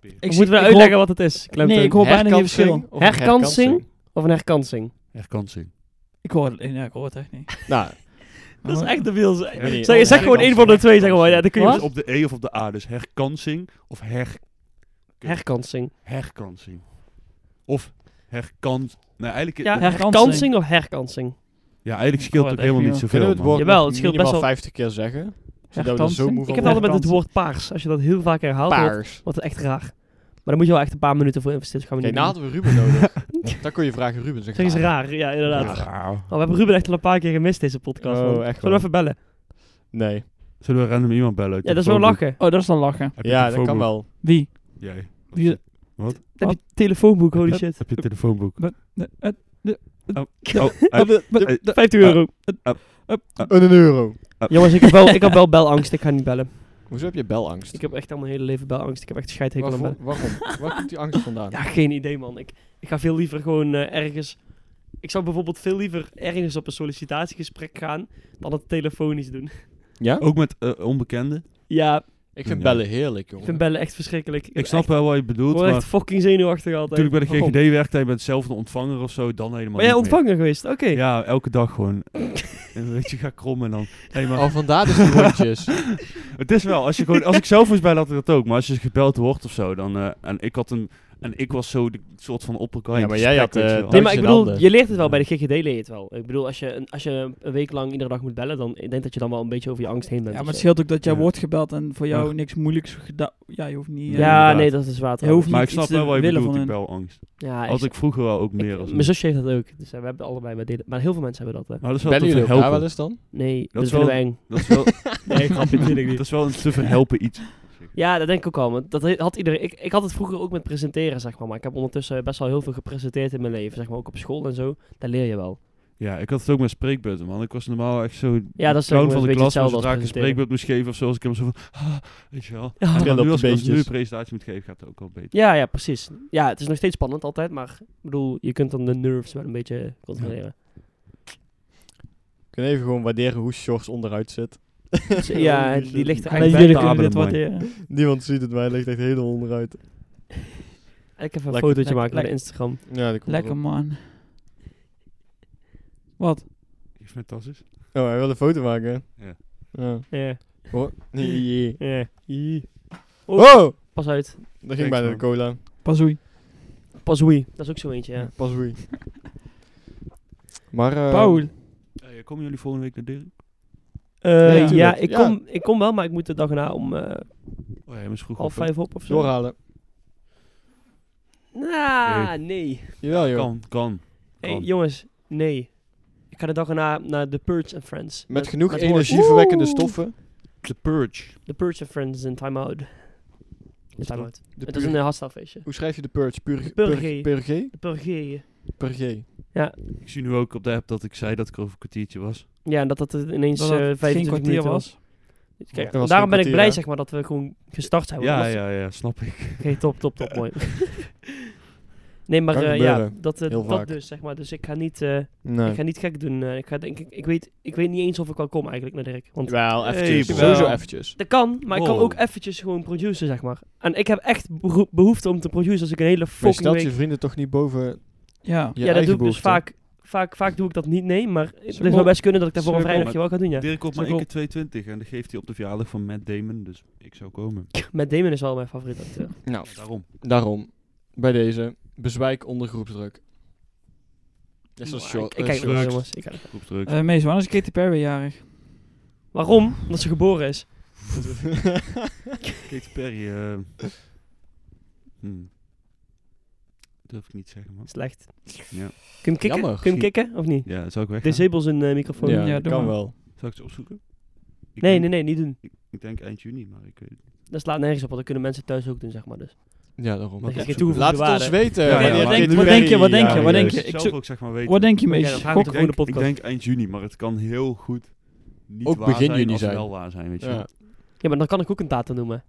Klemtoon. Ik Moeten we uitleggen wat het is? Klemtoon. Nee, ik hoor bijna geen Herkansing verschil. of een Herkansing? Of een herkansing? Herkansing. Ik hoor, ja, ik hoor het echt niet. Nou, Dat is echt de wiel. weet niet. oh, Zeg, zeg gewoon Herkansing. één van de twee, zeg maar. Ja, dan kun je Dus op de E of op de A. Dus herkansing of her, Herkansing. herkansing. Of herkans... Nou, eigenlijk... Ja, Oh, Ja, herkansing. herkansing of herkansing? eigenlijk scheelt Ik hoor het ook het echt helemaal niet niet, zoveel. kunnen we het man. woord Jawel, nog het scheelt minimaal best wel- 50 keer zeggen? Zodat we er zo Herkansing? moe Ik van heb altijd worden? met het herkansing. woord paars. Als je dat heel vaak herhaalt, wordt, Paars. wordt het echt raar. Maar dan moet je wel echt een paar minuten voor investeren. Dat gaan we Kijk, niet nou hadden we Ruben nodig. Dan kon je vragen Ruben. Zeg, doen. Zeg eens ah, raar. Ja, inderdaad. Ja. Oh, we hebben Ruben echt al een paar keer gemist deze podcast. Oh, man. Zullen echt wel. we even bellen? Nee. Zullen we random iemand bellen? Ja, dat is wel lachen. Oh, dat is dan lachen. Heb je Ja, dat telefoonboek? kan wel. Wie? Jij. Wie- Dan heb je telefoonboek, holy Wat? shit. Heb je telefoonboek? Eh, eh, Oh, eh, eh, eh, 50 euro. Een euro. Jongens, ik heb, wel, ik heb wel belangst. Ik ga niet bellen. Hoezo heb je belangst? Ik heb echt al mijn hele leven belangst. Ik heb echt scheidhekel aan Waarvoor- bellen. Waarom? Waar komt die angst vandaan? Ja, geen idee, man. Ik, ik ga veel liever gewoon eh, ergens... Ik zou bijvoorbeeld veel liever ergens op een sollicitatiegesprek gaan... dan het telefonisch doen. Ja? ook met eh, onbekenden. Ja, Ik vind Ja. bellen heerlijk, ik jongen. vind bellen echt verschrikkelijk. Ik snap wel wat je bedoelt, Ik word echt maar fucking zenuwachtig altijd. toen ik bij de Waarom? GGD werkte, je bent zelf de ontvanger of zo, dan helemaal Ben jij niet meer. ontvanger geweest? Oké. Ja, elke dag gewoon. en weet je, ga krommen dan. Nee, maar Oh, vandaar dus die rondjes. het is wel, als, je gewoon, als ik zelf moest bij, had ik dat ook. Maar als je gebeld wordt of zo, dan... eh, en ik had een... En ik was zo de soort van opperkant. Ja, maar jij had, eh, Nee, maar Thuis ik in bedoel, handen. je leert het wel bij de GGD, leer je het wel. Ik bedoel, als je, een- als je een week lang iedere dag moet bellen, dan ik denk dat je dan wel een beetje over je angst heen bent. Ja, maar of het zo. scheelt ook dat jij Ja. wordt gebeld en voor jou Maar- niks moeilijks gedaan. Ja, je hoeft niet. eh, Ja, inderdaad. nee, dat is water. Je hoeft maar niet ik snap iets te wel wat je willen bedoelt, die van hun. belangst. Ja, Had ik vroeger wel ook meer. als mijn zusje heeft dat ook. Dus eh, we hebben het allebei bij delen. Maar heel veel mensen hebben dat, hè. Maar dat is wel Bellen te jullie elkaar wel verhelpen. eens dan? Nee, dat, is vinden wel- we eng. Dat is wel, Nee, grapje, natuurlijk dat niet. is wel een te verhelpen iets. Ja, dat denk ik ook al. want Dat he- had iedereen, ik, ik had het vroeger ook met presenteren, zeg maar. Maar ik heb ondertussen best wel heel veel gepresenteerd in mijn leven. Zeg maar, ook op school en zo. Daar leer je wel. Ja, ik had het ook met spreekbutten, man. Ik was normaal echt zo Ja, dat is clown ook van een de beetje klas. Maar hetzelfde zodra ik als een presenteren. spreekbut moest geven of zo, als ik hem zo van... "Ah," weet je wel. Ja. En Trillen op nu de als ik als ik nu een beentjes. presentatie moet geven, gaat het ook al beter. Ja, ja, precies. Ja, het is nog steeds spannend altijd. Maar ik bedoel, je kunt dan de nerves wel een beetje controleren. Ik kan even gewoon waarderen hoe Sjors onderuit zit. Dus, ja, die ligt er En dat eigenlijk jullie bij. kunnen dit Abonnement. waarderen. Niemand ziet het, maar hij ligt echt helemaal onderuit. Ik even een Lekker. fotootje maken Lekker, naar lekker. Instagram. Ja, dat komt Lekker erop. man. Wat? Geef me tas eens. Oh, hij wil een foto maken. Ja. Ja. Ja, Oh, nee. ja. Oh. Wow! Pas uit. Daar Thanks, ging bijna de man. cola. Pazoei. Pas oei. Dat is ook zo eentje, ja. Pas wie. Maar... eh, Paul. Eh, komen jullie volgende week naar Dirk? Eh, Ja, ja, tuurlijk. ik, Ja. Kom, ik kom wel, maar ik moet de dag na om eh, Oh ja, hij is vroeg half op, hè? vijf op of zo. Doorhalen. Nah, Nou, nee. Jawel, joh. Kan, kan. Hey, Kan. jongens, nee. Ik ga de dag erna naar The Purge and Friends. Met genoeg met energieverwekkende Oeh. stoffen. The Purge. The Purge and Friends in Time Out. In is Time dat? Out. De Het is pur- een eh, hashtagfeestje. Hoe schrijf je de purge? Purge. Pur- pur- Purge? De Purge. Purge. Ik zie nu ook op de app dat ik zei dat ik over een kwartiertje was. Ja, en dat dat het ineens Dat het eh, geen 25 kwartier minuten was. Kijk, Dat was daarom geen ben ik kwartier, blij, hè? zeg maar, dat we gewoon gestart zijn. want Ja, anders- ja, ja, snap ik. Oké, top, top, top, mooi. Nee, maar Kan eh, ja, gebeuren. dat, eh, Heel dat vaak. dus, zeg maar. Dus ik ga niet, eh, ik Nee. ga niet gek doen. eh, ik, ga, denk, ik, ik, weet, ik weet niet eens of ik wel kom eigenlijk naar Dirk. Want Wel, Hey, eventjes. Paul. Sowieso eventjes. dat kan, maar ik kan Wow. ook eventjes gewoon produceren, zeg maar. En ik heb echt beho- behoefte om te produceren als ik een hele Maar je fucking stelt week... je vrienden toch niet boven Ja. je ja, dat eigen doe ik dus behoefte? vaak, vaak, vaak doe ik dat niet, nee. Maar het Cirkel. zou best kunnen dat ik daarvoor een Cirkel. vrijdagje wel ga doen, ja. Dirk komt maar Zo één keer 22 en dat geeft hij op de verjaardag van Matt Damon, dus ik zou komen. Met Damon is wel mijn favoriete acteur. Nou, Daarom. daarom. Bij deze. Bezwijk onder groepsdruk. Dat is een Maar short. Ik, ik dat is kijk nog wel, short. jongens. Ik kijk nog wel. Groepsdruk. Eh Mees, wanneer is Katy Perry jarig? Waarom? Omdat ze geboren is. Katy Perry, eh hmm. Durf ik niet zeggen, man. Slecht. Ja. Kun je hem kicken? Jammer. Kun je hem kicken of niet? Ja, zou ik weggaan? Disable zijn eh, microfoon. ja, Ja, dat doe kan maar. wel. Zou ik het opzoeken? Ik Nee, denk- nee, nee, niet doen. Ik denk eind juni, maar ik weet het niet. Dat slaat nergens op, want dat kunnen mensen thuis ook doen, zeg maar. Dus. Ja, daarom. Dat is Wat geen is- toegevoegde Laat het waarde. ons weten. eh, Ja, wanneer ja, Katy denk- Perry wat denk je, wat denk je, jarig wat denk is. je? Ik zelf zoek- ook zeg maar weten. Wat denk je, Oké, Mees? dan vraag ik het Gok. ik, gewoon denk, de podcast. ik denk eind juni, maar het kan heel goed niet Ook waar begin zijn juni als het zijn. wel waar zijn, weet je Ja. wel. Ja, maar dan kan ik ook een datum noemen.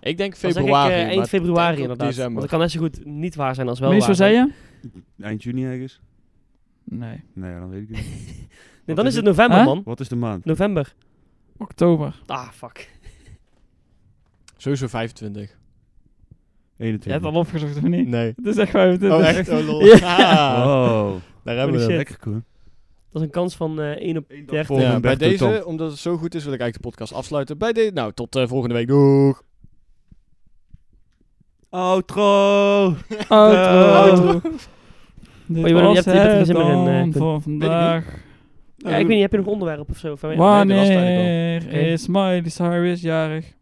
Ik denk Dan zeg ik, februari. eh, maar eind februari denk ook inderdaad. Want December. het kan net zo goed niet waar zijn als wel Mees, waar. wat zei je? Eind juni ergens? Nee. Nee, dan weet ik het niet. Nee, Wat dan is is het het? november, Huh? man. Wat is de maand? November. Oktober. Ah, fuck. Sowieso 25. 21. Je hebt al opgezocht, of niet? Nee. Het is echt 25. Oh, Hm? echt? Oh, lol. Ja. Ah, Oh, daar hebben we Holy hem. lekker cool. Dat is een kans van eh 1 op... Eén Dertig. dag voor Ja, mijn bij Berthe deze, Tom. omdat het zo goed is, wil ik eigenlijk de podcast afsluiten. Bij de, nou, tot eh, volgende week. Doeg! Outro! Eh, Outro. Oh, je Dit bent- je was hebt- je bent er geen het zin meer in, eh, dan Pim. voor vandaag. Ja, ik weet niet, heb je nog een onderwerp of zo? Of- was het eigenlijk Wanneer al. Oké. is Miley Cyrus jarig?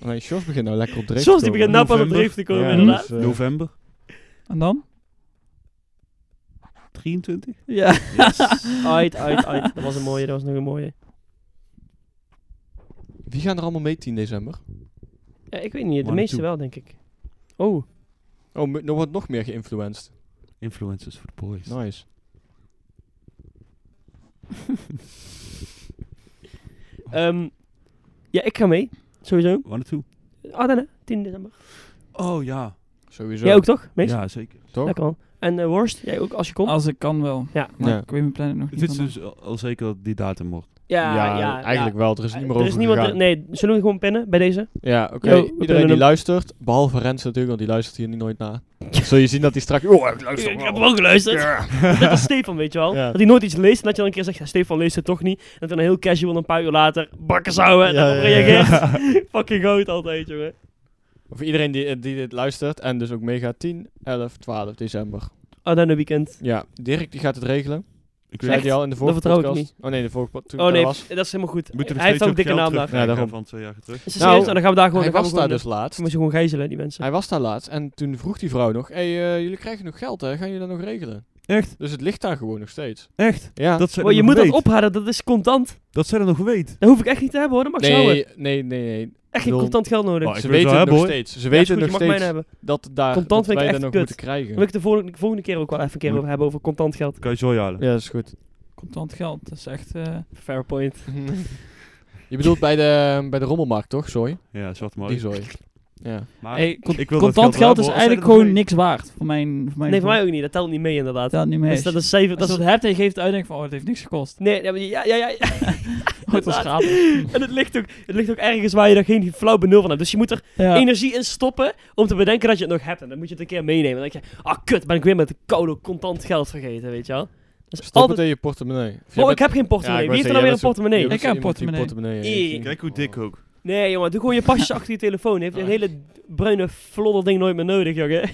Nee, Sjors begint nou lekker op dreef Zoals te die komen. begint nou pas op November. dreef te komen, Ja, inderdaad. dus, eh, November En dan? 23? Ja. Uit, uit, uit. Dat was een mooie, dat was nog een mooie. Wie gaan er allemaal mee 10 december? Ja, ik weet niet, de Wanneer meeste toe? wel, denk ik. Oh, Oh, m- er wordt nog meer geïnfluenced. Influencers for the boys. Nice. ehm, ja, ik ga mee. Sowieso. Waar naartoe? Ah, dan hè. 10 december. Oh ja. Sowieso. Jij ook toch, Mees? Ja, zeker. toch? Lekker man. En eh Worst, jij ook als je Oh. komt? Als ik kan wel. Ja. Maar Ja. ik weet mijn plannen nog Het niet. is allemaal. dus al al zeker dat die datum wordt. ja, ja, eigenlijk wel. Er is ja. niet meer er over is niemand, gegaan. nee, zullen we gewoon pinnen bij deze? Ja, oké. Yo, we kunnen Iedereen die hem- luistert, behalve Rens natuurlijk, want die luistert hier niet nooit naar. Zul je zien dat hij straks... Oh, ik Ik, luister wel. heb wel geluisterd. Net als Stefan, weet je wel. Ja. Dat hij nooit iets leest en dat je dan een keer zegt, ja, Stefan leest het toch niet. En dan heel casual een paar uur later, bakken zouden, en Ja, daarop ja, ja. reageert. Fucking goud altijd, jongen. Of iedereen die, eh, die dit luistert en dus ook meegaat, 10, 11, 12 december. Oh, dan een weekend. Ja, Dirk die gaat het regelen. Ik Zei die al in de vorige vertrouw ik podcast? Oh nee, de vorige podcast. toen Oh ik daar nee, was. dat is helemaal goed. Moet er nog Hij heeft steeds ook ook een dikke geld naam daar. terugkrijgen daarom. van twee jaar terug. Is het Nou, serieus? en dan gaan we daar gewoon... Hij dan gaan was we daar gewoon dus laatst. We moeten gewoon gijzelen, die mensen. Hij was daar laatst en toen vroeg die vrouw nog: Hey, eh, jullie krijgen nog geld, hè? Gaan jullie dat nog regelen? Echt? Dus het ligt daar gewoon nog steeds. Echt? Ja. Dat zij Oh, dat je nog moet dat weet. ophalen, dat is contant. Dat zij dat nog weet. Dat hoef ik echt niet te hebben hoor, dat mag nee, zo. nee, nee, nee. Echt geen bedoel- contant geld nodig. Maar ik Ze wil het weten wel Oh, het nog hebben, hoor. steeds. Ze Ja, is weten goed, je nog mag mijn steeds hebben. dat, daar, Contant dat vind ik wij echt dat nog kut. moeten krijgen. Wil ik de volgende, de volgende keer ook wel even een keer over hebben over contant geld. Kan je zo halen. Ja, dat is goed. Contant geld. Dat is echt... eh, Fair point. je bedoelt bij de, bij de rommelmarkt, toch? Zooi. Ja, zwart mooi. Die zooi. Ja. Maar hey, con- ik wil dat contant geld wel, geld is hoor. eigenlijk Zij dat gewoon nog niks waard. Voor mijn... Voor mijn Nee, voor mij gevoel. ook niet. Dat telt niet mee inderdaad. Dat niet mee. Dus dat is zeven... Als Dat je is, dat hebt en je geeft uit, denk ik van, oh, het heeft niks gekost. nee, ja, maar ja, ja, ja. ja. Oh, het was Inderdaad. gratis. En het ligt, ook, het ligt ook ergens waar je daar geen flauw benul van hebt. Dus je moet er Ja. energie in stoppen om te bedenken dat je het nog hebt. En dan moet je het een keer meenemen. Dan denk je, ah kut, ben ik weer met de koude contant geld vergeten, weet je wel. Dat is Stop altijd... het in je portemonnee. Of jij Oh, bent- ik heb geen Ja, portemonnee. ik wou Wie heeft er nou zeggen, weer jij een bent zo- portemonnee? jij bent Ik heb zo iemand die een portemonnee heeft. Eeh. Kijk hoe dik ook. Nee, jongen, doe gewoon je pasjes achter je telefoon. Heeft een Ah. hele bruine flodder ding nooit meer nodig, jongen.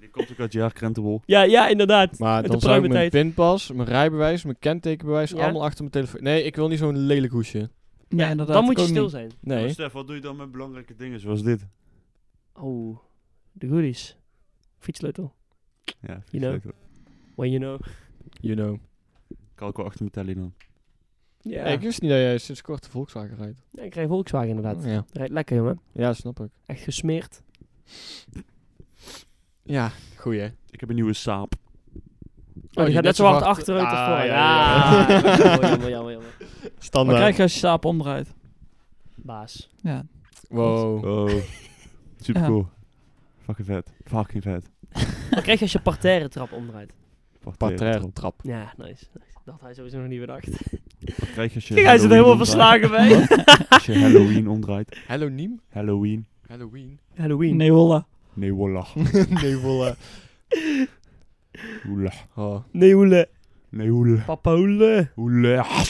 Dit komt ook uit jaar krentenbol. Ja, ja, inderdaad. Maar Met dan de zou ik mijn pruimentijd. pinpas, mijn rijbewijs, mijn kentekenbewijs, Ja. allemaal achter mijn telefoon. Nee, ik wil niet zo'n lelijk hoesje. Nee, Ja, inderdaad. Dan moet je ik ook stil niet. zijn. Nee. Maar Stef, wat doe je dan met belangrijke dingen zoals dit? Oh, de goodies. Fietsleutel. Ja, vind ik know. leuk, hoor. When you know. You know. Kan ik wel achter mijn telly dan. Ja, Hey, ik ik, wist niet dat jij sinds kort de Volkswagen rijdt. ja, Oh, ik krijg Volkswagen inderdaad. Ja. Rijdt lekker, jongen. ja, snap ik. Echt gesmeerd. Ja, goeie. hè? Ik heb een nieuwe saap. Oh, die je gaat net zo hard achteruit als Ah, voor. Oh, Ja, ja, ja, ja. jammer, jammer, jammer, jammer. Wat Standaard. krijg je als je saap omdraait? Baas. Ja. Wow. Oh. Super Ja. cool. Fucking vet. Fucking vet. Wat krijg je als je parterre trap omdraait? eh, Parterre trap. Ja, nice. nice. Dat had hij sowieso nog niet bedacht. Wat krijg je als je Kijk, hij zit Halloween helemaal omdraait? verslagen bij. Als je Halloween omdraait. Halloween? Halloween. Halloween? Halloween. Nee, holla. Nee, wallah. nee, voilà. Oelah. Oh. Nee, hoele. Nee, oelah. Papa hoele. Oelah.